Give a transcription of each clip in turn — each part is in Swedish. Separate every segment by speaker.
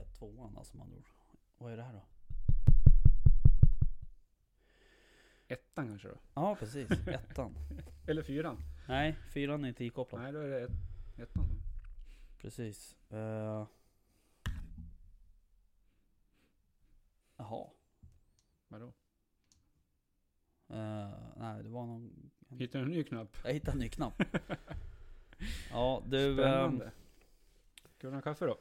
Speaker 1: alltså med andra ord. Vad är det här då?
Speaker 2: Ettan kanske då?
Speaker 1: Ja, precis. Ettan.
Speaker 2: Eller fyran?
Speaker 1: Nej, fyran är inte ikopplad.
Speaker 2: Nej, då är det ett, ettan. som-
Speaker 1: Precis. Uh... Jaha.
Speaker 2: Vadå?
Speaker 1: Eh, nej, det var någon...
Speaker 2: Hittar du en ny knapp?
Speaker 1: Jag hittade en ny knapp. ja, du... ehm,
Speaker 2: Spännande. Ska du ha kaffe då?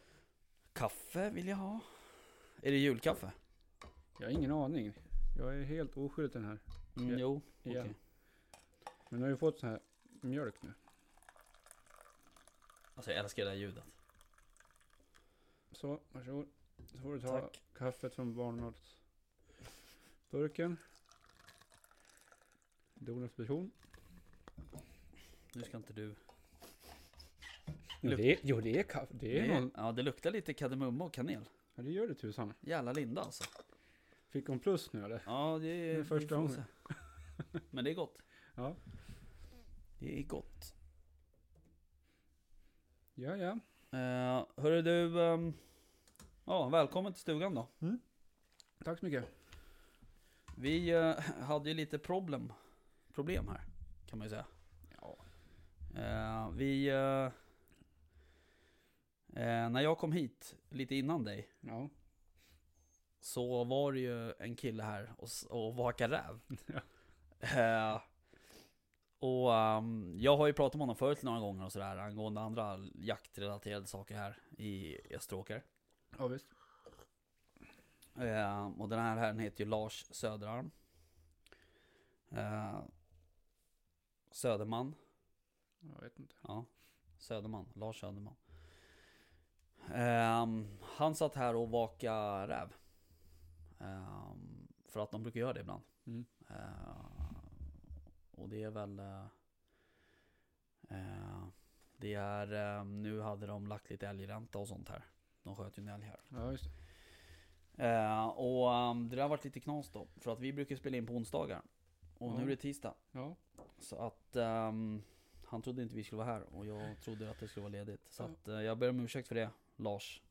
Speaker 1: kaffe vill jag ha. Är det julkaffe?
Speaker 2: Jag har ingen aning. Jag är helt oskyldig till den här.
Speaker 1: Mm,
Speaker 2: Ja.
Speaker 1: Jo, okej.
Speaker 2: Igen. Men jag har ju fått sån här mjölk nu.
Speaker 1: Alltså jag älskar det där ljudet.
Speaker 2: Så, varsågod. Så får du ta
Speaker 1: Tack.
Speaker 2: kaffet från barnmatsburken. Donalds version.
Speaker 1: Nu ska inte du...
Speaker 2: Jo, det är- Jo, det är kaffe. Det är någon.
Speaker 1: Ja, det luktar lite kardemumma och kanel.
Speaker 2: Ja, det gör det tusan.
Speaker 1: Jävla linda alltså.
Speaker 2: Fick hon plus nu eller?
Speaker 1: Ja, det är...
Speaker 2: Det är första
Speaker 1: vi får se. Men det är gott.
Speaker 2: Ja.
Speaker 1: Det är gott.
Speaker 2: Ja, ja.
Speaker 1: Uh, hörru du... ehm, ja, välkommen till stugan då.
Speaker 2: Tack så mycket.
Speaker 1: Vi eh, hade ju lite problem. Problem här, kan man ju säga.
Speaker 2: Ja.
Speaker 1: Eh, vi... eh, eh, när jag kom hit, lite innan dig,
Speaker 2: Ja.
Speaker 1: så var det ju en kille här och, s- och vakade räv.
Speaker 2: Ja.
Speaker 1: Eh, och ehm, jag har ju pratat med honom förut några gånger och sådär angående andra jaktrelaterade saker här i Österåker.
Speaker 2: ja, visst.
Speaker 1: Eh, och den här herren heter ju Lars Söderarm. Eh, Söderman.
Speaker 2: Jag vet inte.
Speaker 1: Ja, Söderman, Lars Söderman. Ehm, han satt här och vakade räv. Ehm, för att de brukar göra det ibland.
Speaker 2: Mm.
Speaker 1: Ehm, och det är väl... eh, eh, det är... eh, nu hade de lagt lite älgränta och sånt här. De sköt ju en älg här.
Speaker 2: Ja, visst.
Speaker 1: Eh, och ehm, det där har varit lite knas då. För att vi brukar spela in på onsdagar. Och nu
Speaker 2: Ja.
Speaker 1: är det tisdag.
Speaker 2: Ja.
Speaker 1: Så att ehm, han trodde inte vi skulle vara här och jag trodde att det skulle vara ledigt. Så
Speaker 2: Ja.
Speaker 1: att, eh, jag ber om ursäkt för det, Lars.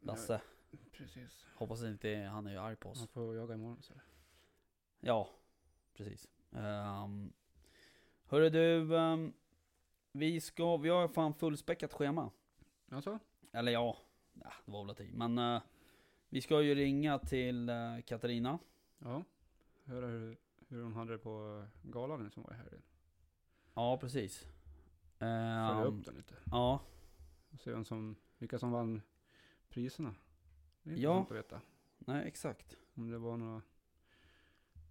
Speaker 1: Lasse.
Speaker 2: Ja, precis.
Speaker 1: Hoppas inte han är arg på oss.
Speaker 2: Man får jaga imorgon så.
Speaker 1: Ja, precis. Um, hörru du, ehm, vi, ska, vi har fan fullspäckat schema.
Speaker 2: Alltså?
Speaker 1: Eller ja, ja, det var väl att det. Men eh, vi ska ju ringa till eh, Katarina.
Speaker 2: Ja. Höra hur, hur hon hade det på galan nu som var i helgen.
Speaker 1: Ja, precis.
Speaker 2: Följa
Speaker 1: Ehm,
Speaker 2: upp den lite.
Speaker 1: ja,
Speaker 2: Och se vem som, vilka som vann priserna. Det är
Speaker 1: Ja.
Speaker 2: intressant att veta.
Speaker 1: nej exakt.
Speaker 2: Om det var några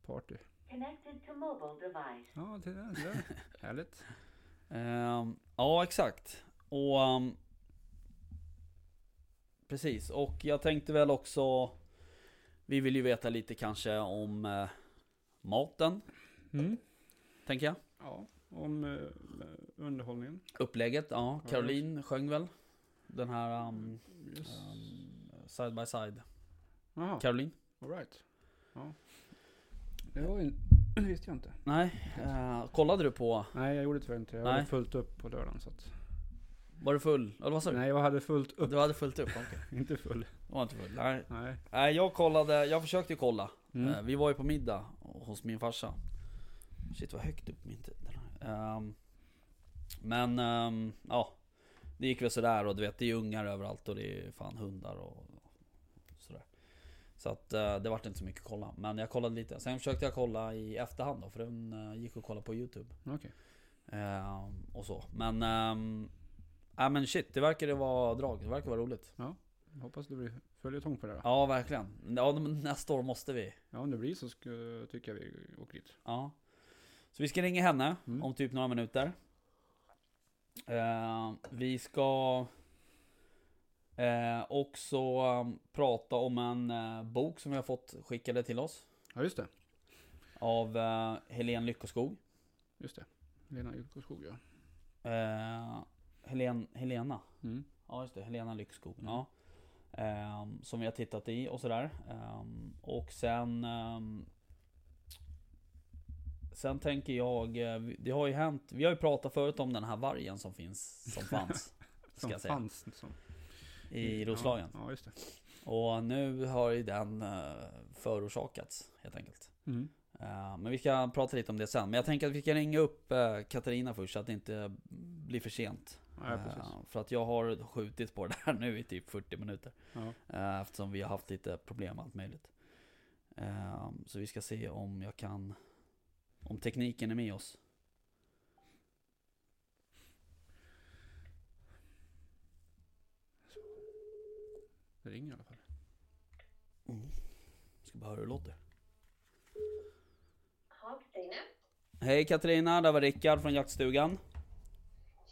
Speaker 2: party.
Speaker 3: Connected to mobile device.
Speaker 2: Ja, det är det. Där. Härligt.
Speaker 1: Ehm, ja, exakt. Och... ehm, precis, och jag tänkte väl också... Vi vill ju veta lite kanske om eh, maten,
Speaker 2: Mm.
Speaker 1: tänker jag.
Speaker 2: Ja, om eh, underhållningen.
Speaker 1: Upplägget, ja.
Speaker 2: Ja,
Speaker 1: Caroline sjöng väl? Den här um,
Speaker 2: Yes.
Speaker 1: side by side.
Speaker 2: Jaha,
Speaker 1: Caroline?
Speaker 2: all right. Ja. Det var ju, det visste jag inte.
Speaker 1: Nej, eh, kollade du på...
Speaker 2: Nej, jag gjorde tyvärr inte. Jag
Speaker 1: Nej.
Speaker 2: hade fullt upp på lördagen så att.
Speaker 1: Var du full? Eller vad sa du?
Speaker 2: Nej, jag hade fullt upp.
Speaker 1: Du hade fullt upp? Okej.
Speaker 2: Inte full.
Speaker 1: Du var inte full? Nej.
Speaker 2: Nej.
Speaker 1: Nej, jag kollade, jag försökte ju kolla.
Speaker 2: Mm.
Speaker 1: Eh, Vi var ju på middag hos min farsa. Shit vad högt upp min den här. Ehm, Men ehm, ja, det gick väl sådär och du vet det är ju ungar överallt och det är fan hundar och sådär. Så att eh, det vart inte så mycket att kolla. Men jag kollade lite. Sen försökte jag kolla i efterhand då för den eh, gick att kolla på YouTube.
Speaker 2: Okej.
Speaker 1: Ehm, Och så. Men, ehm, ja men shit det verkade vara drag. Det verkar vara roligt.
Speaker 2: Jag Hoppas det blir följetong på det då.
Speaker 1: Ja verkligen. Ja men nästa år måste vi.
Speaker 2: Ja, om det blir så ska, tycker jag vi åker dit.
Speaker 1: Ja. Så vi ska ringa henne
Speaker 2: Mm.
Speaker 1: om typ några minuter. Eh, vi ska eh, också um, prata om en eh, bok som vi har fått skickade till oss
Speaker 2: Ja, just det.
Speaker 1: av eh, Helene Lyckoskog.
Speaker 2: Just det. Lena Yrkoskog ja.
Speaker 1: Eh, Helen, Helena.
Speaker 2: Mm.
Speaker 1: Ja just det, Helena Lyckskog.
Speaker 2: Mm.
Speaker 1: Ja. Ehm, som vi har tittat i och sådär. Ehm, och sen... ehm, sen tänker jag, eh, vi- det har ju hänt, vi har ju pratat förut om den här vargen som finns, som fanns. ska
Speaker 2: Som Mm,
Speaker 1: jag säga,
Speaker 2: fanns. Som,
Speaker 1: I Roslagen.
Speaker 2: liksom. Ja, ja, just det.
Speaker 1: Och nu har ju den eh, förorsakats helt enkelt.
Speaker 2: Mm.
Speaker 1: Eh, Men vi ska prata lite om det sen. Men jag tänker att vi ska ringa upp eh, Katarina först så att det inte blir för sent.
Speaker 2: Ja,
Speaker 1: Eh,
Speaker 2: precis.
Speaker 1: För att jag har skjutit på det här nu i typ 40 minuter.
Speaker 2: Ja.
Speaker 1: Eh, Eftersom vi har haft lite problem med allt möjligt. Eh, Så vi ska se om jag kan... Om tekniken är med oss.
Speaker 2: Det ringer i alla fall.
Speaker 1: Ska bara höra hur det låter.
Speaker 4: Jaha, Katarina.
Speaker 1: Hej Katarina, där var Rickard från jaktstugan.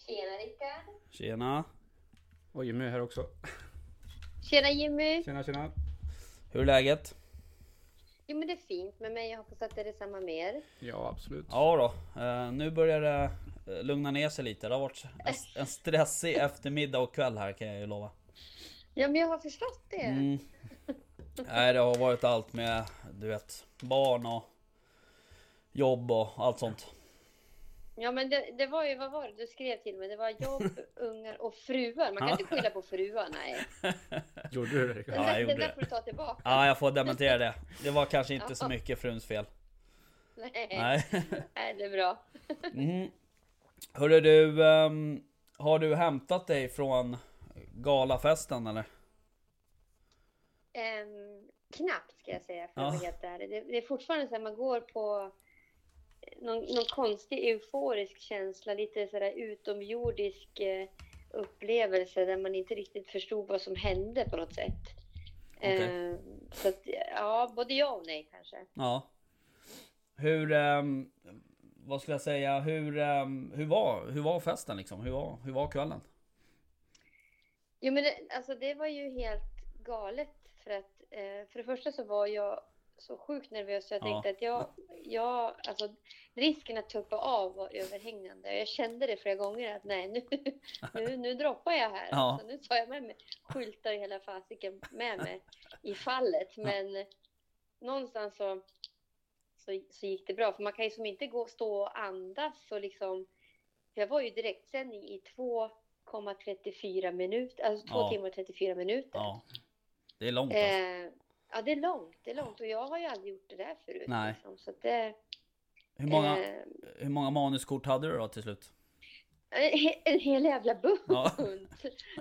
Speaker 4: Tjena Rickard.
Speaker 1: Tjena.
Speaker 2: Och Jimmy är här också.
Speaker 4: Tjena Jimmy.
Speaker 2: Tjena tjena.
Speaker 1: Hur är läget?
Speaker 4: Jo men det är fint med mig. Jag hoppas att det är detsamma med er.
Speaker 2: Ja absolut.
Speaker 1: Ja då, eh, nu börjar det eh, lugna ner sig lite. Det har varit en, en stressig eftermiddag och kväll här kan jag ju lova.
Speaker 4: Ja men jag har förstått det.
Speaker 1: Mm. Nej, det har varit allt med, du vet, barn och jobb och allt sånt.
Speaker 4: Ja men det, det var ju, vad var det du skrev till mig? Det var jobb, ungar och fruar. Man kan
Speaker 1: Ja.
Speaker 4: inte skylla på fruar, nej.
Speaker 2: Gjorde du det Rickard?
Speaker 1: Ja, jag
Speaker 4: den,
Speaker 1: gjorde
Speaker 4: den där
Speaker 1: det.
Speaker 4: får du ta tillbaka.
Speaker 1: Ja, jag får dementera det. Det var kanske inte så mycket fruns fel.
Speaker 4: Nej. Nej.
Speaker 1: Nej.
Speaker 4: det är bra.
Speaker 1: Mm. Hörru du, ehm, har du hämtat dig från galafesten eller?
Speaker 4: Ehm, knappt ska jag säga för
Speaker 1: Ja.
Speaker 4: att vara helt ärlig. Det, det är fortfarande så här, man går på eh, någon, någon konstig euforisk känsla, lite så där utomjordisk eh, upplevelse där man inte riktigt förstod vad som hände på något sätt.
Speaker 1: Okej.
Speaker 4: Ehm, så att, ja, både ja och nej kanske.
Speaker 1: Ja. Hur, ehm, vad skulle jag säga, hur, ehm, hur, var, hur var festen liksom? Hur var, hur var kvällen?
Speaker 4: Jo men det, alltså det var ju helt galet för att eh, för det första så var jag så sjukt nervös så jag
Speaker 1: Ja.
Speaker 4: tänkte att jag, jag, alltså risken att tuppa av var överhängande. Jag kände det flera gånger att nej nu, nu, nu droppar jag här.
Speaker 1: Ja.
Speaker 4: Alltså, nu tar jag med mig skyltar i hela fasiken med mig i fallet. Men någonstans så, så, så gick det bra för man kan ju som inte gå, stå och andas och liksom. Jag var ju i direktsändning i 2,34 minuter, alltså 2
Speaker 1: Ja.
Speaker 4: timmar och 34 minuter.
Speaker 1: Ja. Det är långt alltså.
Speaker 4: Eh, ja, det är långt. Det är långt och jag har ju aldrig gjort det där förut.
Speaker 1: Nej.
Speaker 4: Liksom, så att det,
Speaker 1: Hur många,
Speaker 4: eh,
Speaker 1: hur många manuskort hade du då till slut?
Speaker 4: en he- en hel jävla bunt.
Speaker 1: Ja.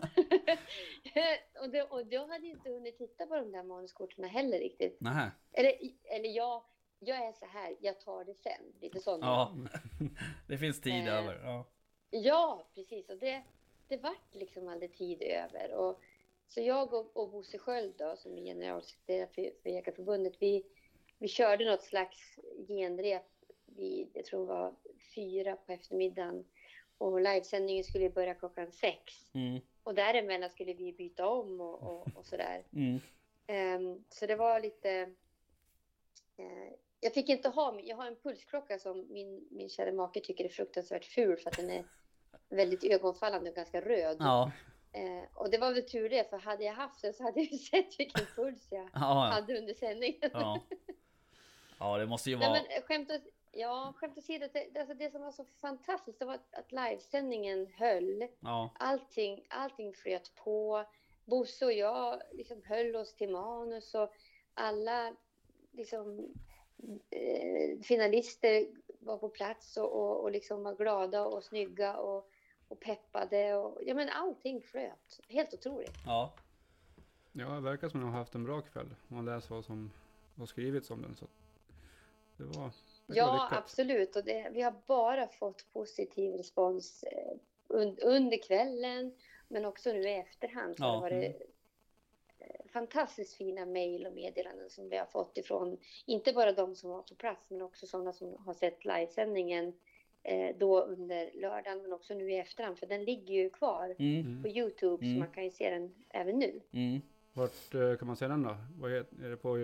Speaker 4: och, det, och jag hade ju inte hunnit titta på de där manuskorten heller riktigt.
Speaker 1: Nähä.
Speaker 4: Eller, eller jag, jag är så här, jag tar det sen. Lite sån.
Speaker 1: Ja. Det finns tid
Speaker 4: Eh.
Speaker 1: över. Ja.
Speaker 4: Ja, precis. Och det, det vart liksom aldrig tid över. Och, så jag och, och Bosse Sköld då, som är generalsekreterare för, för Jägareförbundet, vi, vi körde något slags genrep vid, jag tror det var fyra på eftermiddagen. Och livesändningen skulle ju börja klockan sex.
Speaker 1: Mm.
Speaker 4: Och däremellan skulle vi byta om och, och, och sådär.
Speaker 1: Mm.
Speaker 4: Ehm, så det var lite... eh, jag fick inte ha... min- Jag har en pulsklocka som min, min kära make tycker är fruktansvärt ful för att den är väldigt ögonfallande och ganska röd.
Speaker 1: Ja.
Speaker 4: Eh, och det var väl tur det, för hade jag haft den så hade jag ju sett vilken puls jag
Speaker 1: Ja. Ja.
Speaker 4: hade under sändningen.
Speaker 1: ja. Ja det måste ju
Speaker 4: Nej,
Speaker 1: vara.
Speaker 4: men eh, skämt ås- Ja, skämt åsido, det, alltså det som var så fantastiskt det var att, att livesändningen höll.
Speaker 1: Ja.
Speaker 4: allting, allting flöt på. Bosse och jag liksom höll oss till manus och alla liksom, eh, finalister var på plats och, och, och liksom var glada och snygga och, och peppade. Och, ja, men allting flöt. Helt otroligt.
Speaker 1: Ja.
Speaker 2: Ja det verkar som att de har haft en bra kväll. Om man läser vad som har skrivits om den så. Det var. Det
Speaker 4: Ja, absolut. Och det, vi har bara fått positiv respons eh, un, under kvällen, men också nu i efterhand. Så
Speaker 1: Ja.
Speaker 4: har det
Speaker 2: mm.
Speaker 4: eh, fantastiskt fina mejl och meddelanden som vi har fått ifrån, inte bara de som var på plats, men också sådana som har sett livesändningen eh, då under lördagen, men också nu i efterhand, för den ligger ju kvar
Speaker 1: Mm.
Speaker 4: på Youtube,
Speaker 1: Mm.
Speaker 4: så man kan ju se den även nu.
Speaker 1: Mm.
Speaker 2: Vart eh, kan man se den då? Vad heter, är det på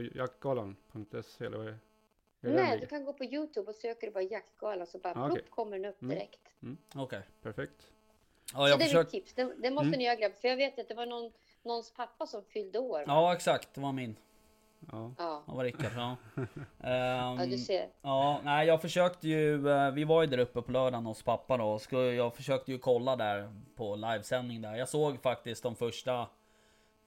Speaker 2: jaktgalan.se eller vad är, är det den
Speaker 4: Nej, du
Speaker 2: ligger?
Speaker 4: kan gå på Youtube och söka det bara Jaktgalan, så bara
Speaker 2: Ah, okej.
Speaker 4: plopp kommer den upp
Speaker 2: Mm.
Speaker 4: direkt.
Speaker 1: Okej.
Speaker 2: Perfekt.
Speaker 1: Ja jag
Speaker 4: Så det är mitt
Speaker 1: försökte.
Speaker 4: tips. Det, det måste
Speaker 2: Mm.
Speaker 4: ni göra grabbar. För jag vet att det var någon, någons pappa som fyllde år. Ja.
Speaker 1: Ja exakt, det var min.
Speaker 2: Ja.
Speaker 4: Ja,
Speaker 1: Det var Rickard. Ja. Ehm,
Speaker 4: du ser.
Speaker 1: Ja, nej jag försökte ju, eh, vi var ju där uppe på lördagen hos pappa då, så jag försökte ju kolla där på livesändning där. Jag såg faktiskt de första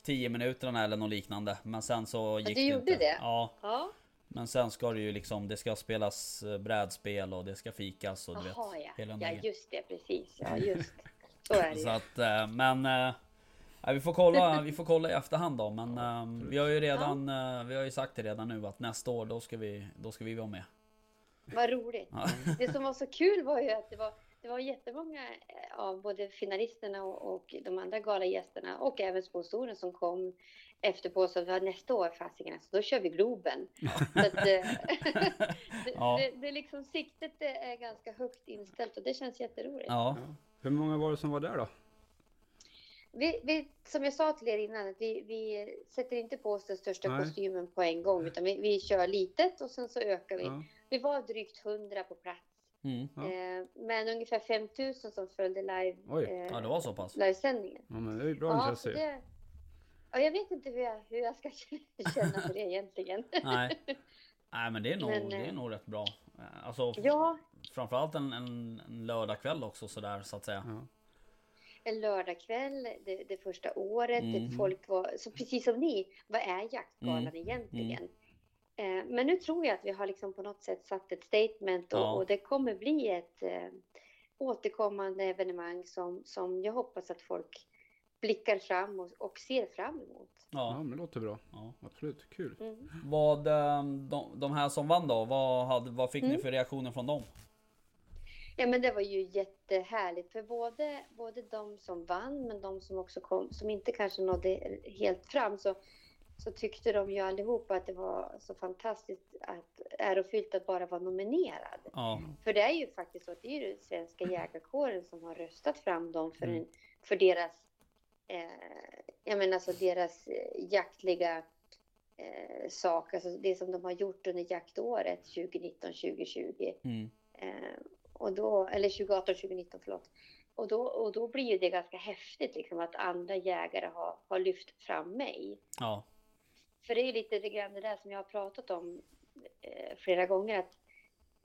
Speaker 1: 10 minuterna eller något liknande. Men sen så gick
Speaker 4: du gjorde
Speaker 1: inte.
Speaker 4: det?
Speaker 1: Ja.
Speaker 4: Ja,
Speaker 1: Men sen ska det ju liksom, det ska spelas eh, brädspel och det ska fikas och du vet.
Speaker 4: jaha ja.
Speaker 1: hela
Speaker 4: Ja,
Speaker 1: nöjet.
Speaker 4: just det, precis. Ja, just. Så är det
Speaker 1: Så
Speaker 4: ju.
Speaker 1: att, eh, men... eh, ja, vi, får kolla, vi får kolla i efterhand då, men eh, vi har ju redan, eh, vi har ju sagt det redan nu att nästa år då ska vi, då ska vi vara med.
Speaker 4: Vad roligt.
Speaker 1: Ja.
Speaker 4: Det som var så kul var ju att det var, det var jättemånga eh, av både finalisterna och, och de andra galagästerna och även sponsorer som kom efter på oss och sa nästa år fasiken alltså, då kör vi Globen. Så att, eh, det,
Speaker 1: Ja.
Speaker 4: det, det är liksom siktet det är ganska högt inställt och det känns jätteroligt.
Speaker 1: Ja,
Speaker 2: Ja. Hur många var det som var där då?
Speaker 4: Vi, vi, som jag sa till er innan, att vi, vi sätter inte på oss den största
Speaker 2: Nej.
Speaker 4: kostymen på en gång utan vi, vi kör litet och sen så ökar vi.
Speaker 2: Ja.
Speaker 4: Vi var drygt 100 på plats.
Speaker 1: mm.
Speaker 2: Ja.
Speaker 4: Eh, men ungefär 5000 som följde live,
Speaker 2: Oj.
Speaker 4: eh,
Speaker 1: ja det var så pass.
Speaker 4: livesändningen.
Speaker 2: ja men det är ju bra
Speaker 4: Ja, så
Speaker 2: intresse.
Speaker 4: det, ja, jag vet inte hur jag, hur jag ska känna för det egentligen.
Speaker 1: Nej. Nej men det är nog,
Speaker 4: Men,
Speaker 1: det är
Speaker 4: eh,
Speaker 1: nog rätt bra. Eh, Alltså
Speaker 4: ja,
Speaker 1: framförallt en, en, en lördagkväll också sådär så att säga.
Speaker 2: Ja.
Speaker 4: en lördagkväll, det, det första året,
Speaker 1: Mm.
Speaker 4: det folk var, så precis som ni, vad är jaktgalan
Speaker 1: Mm.
Speaker 4: egentligen? Eh, men nu tror jag att vi har liksom på något sätt satt ett statement och,
Speaker 1: Ja.
Speaker 4: och det kommer bli ett eh, återkommande evenemang som, som jag hoppas att folk blickar fram och, och ser fram emot.
Speaker 2: ja
Speaker 1: Ja.
Speaker 2: men det låter bra.
Speaker 1: Ja.
Speaker 2: Absolut, kul.
Speaker 4: Mm.
Speaker 1: Vad, eh, de, de här som vann då, vad, hade, vad fick ni
Speaker 4: Mm.
Speaker 1: för reaktioner från dem?
Speaker 4: Ja men det var ju jättehärligt för både, både de som vann men de som också kom som inte kanske nådde helt fram så, så tyckte de ju allihopa att det var så fantastiskt att ärofyllt att bara vara nominerad.
Speaker 1: Ja,
Speaker 4: För det är ju faktiskt så att det är ju den svenska jägarkåren som har röstat fram dem för,
Speaker 1: Mm.
Speaker 4: en, för deras, eh, jag menar alltså deras eh, jaktliga eh, sak, alltså det som de har gjort under jaktåret 2019-2020.
Speaker 1: mm.
Speaker 4: Eh, och då, eller 2018, 2019, förlåt. Och då, och då blir ju det ganska häftigt liksom, att andra jägare har, har lyft fram mig.
Speaker 1: ja,
Speaker 4: För det är ju lite det grann det där som jag har pratat om eh, flera gånger. att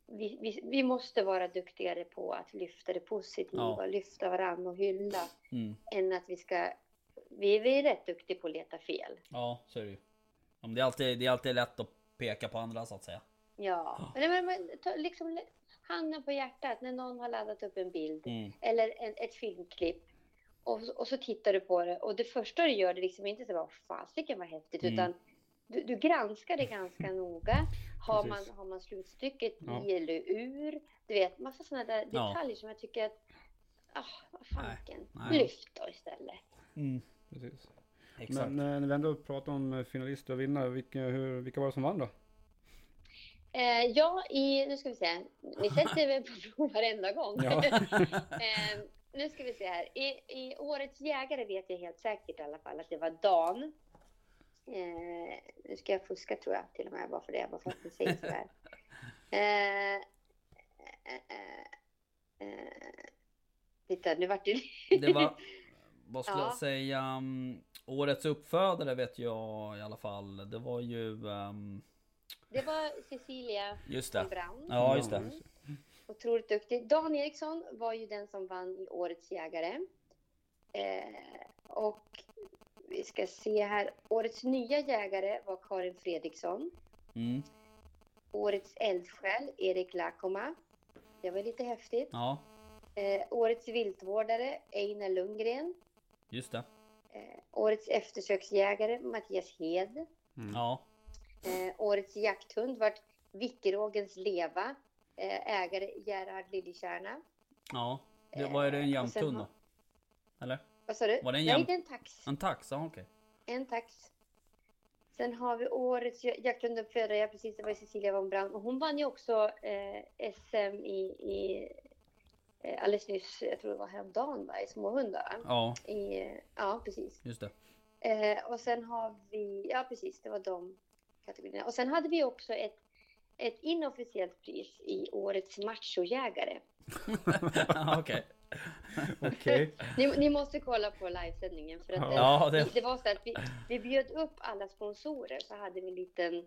Speaker 4: vi, vi, vi måste vara duktigare på att lyfta det positiva,
Speaker 1: Ja.
Speaker 4: och lyfta varandra och hylla.
Speaker 1: mm.
Speaker 4: Än att vi ska... Vi, vi är rätt duktiga på att leta fel.
Speaker 1: ja så är det ju. Ja, men Det är alltid, det är alltid lätt att peka på andra så att säga.
Speaker 4: Ja. Men, men, men ta, liksom, handen på hjärtat när någon har laddat upp en bild.
Speaker 1: Mm.
Speaker 4: eller en, ett filmklipp och, och så tittar du på det och det första du gör det är liksom inte så bara fasiken vad häftigt
Speaker 1: Mm.
Speaker 4: utan du, du granskar det ganska noga. Har man,
Speaker 2: Precis.
Speaker 4: har man slutstycket
Speaker 2: Ja.
Speaker 4: i eller ur? Du vet massa sådana där
Speaker 1: Ja.
Speaker 4: detaljer som jag tycker att ah, vad fanken,
Speaker 1: Nej.
Speaker 4: lyft då istället.
Speaker 1: Mm.
Speaker 2: Precis.
Speaker 1: Exakt.
Speaker 2: Men eh, när vi ändå pratar om eh, finalister och vinnare, vilka, hur, vilka var det som vann då?
Speaker 4: Eh, ja, i, nu ska vi se. Ni sätter väl på prov varenda gång.
Speaker 2: Ja.
Speaker 4: eh, nu ska vi se här. I, I Årets jägare vet jag helt säkert i alla fall att det var Dan. Eh, nu ska jag fuska tror jag till och med bara för det. Bara för att ni säger sådär. Eh, eh, eh, eh. Titta, nu vart det...
Speaker 1: Det var, vad skulle
Speaker 4: Ja.
Speaker 1: jag säga, mm, årets uppfödare vet jag i alla fall. Det var ju, ehm,
Speaker 4: Det var Cecilia
Speaker 1: just det.
Speaker 4: von Braun.
Speaker 1: Ja just det.
Speaker 4: Otroligt duktig. Dan Eriksson var ju den som vann i Årets jägare. Eh, och vi ska se här. Årets nya jägare var Karin Fredriksson.
Speaker 1: Mm.
Speaker 4: Årets eldsjäl, Erik Lakoma. Det var lite häftigt.
Speaker 1: Ja,
Speaker 4: Eh, årets viltvårdare, Einar Lundgren.
Speaker 1: just
Speaker 2: Mm.
Speaker 1: det.
Speaker 4: Eh, årets eftersöksjägare, Mattias Hed.
Speaker 1: Ja,
Speaker 4: Eh, årets jakthund vart Vickerågens leva, eh, ägare Gerhard Liljekärna.
Speaker 1: ja. Det, var det en
Speaker 4: Eh, och sen
Speaker 1: jämthund
Speaker 4: har-
Speaker 1: då? Eller?
Speaker 4: Vad sa du?
Speaker 1: Var det en
Speaker 4: Nej,
Speaker 1: jäm-
Speaker 4: det är en tax.
Speaker 1: En tax? Ja okej.
Speaker 4: En tax. Sen har vi årets ja- jakthunduppfödare, ja precis, det var Cecilia von Braun. Och hon vann ju också eh, SM i, i eh, alldeles nyss, jag tror det var häromdagen va, i småhundar. va?
Speaker 1: Ja,
Speaker 4: I, eh, ja, precis.
Speaker 1: just det.
Speaker 4: Eh, och sen har vi, ja precis, det var de kategorierna. Och sen hade vi också ett, ett inofficiellt pris i årets machojägare.
Speaker 1: Ja, okej.
Speaker 2: Okej.
Speaker 4: Ni, ni måste kolla på livesändningen för att
Speaker 2: Ja.
Speaker 4: det,
Speaker 1: Ja,
Speaker 4: det...
Speaker 1: det-
Speaker 4: var så att vi, vi bjöd upp alla sponsorer så hade vi en liten,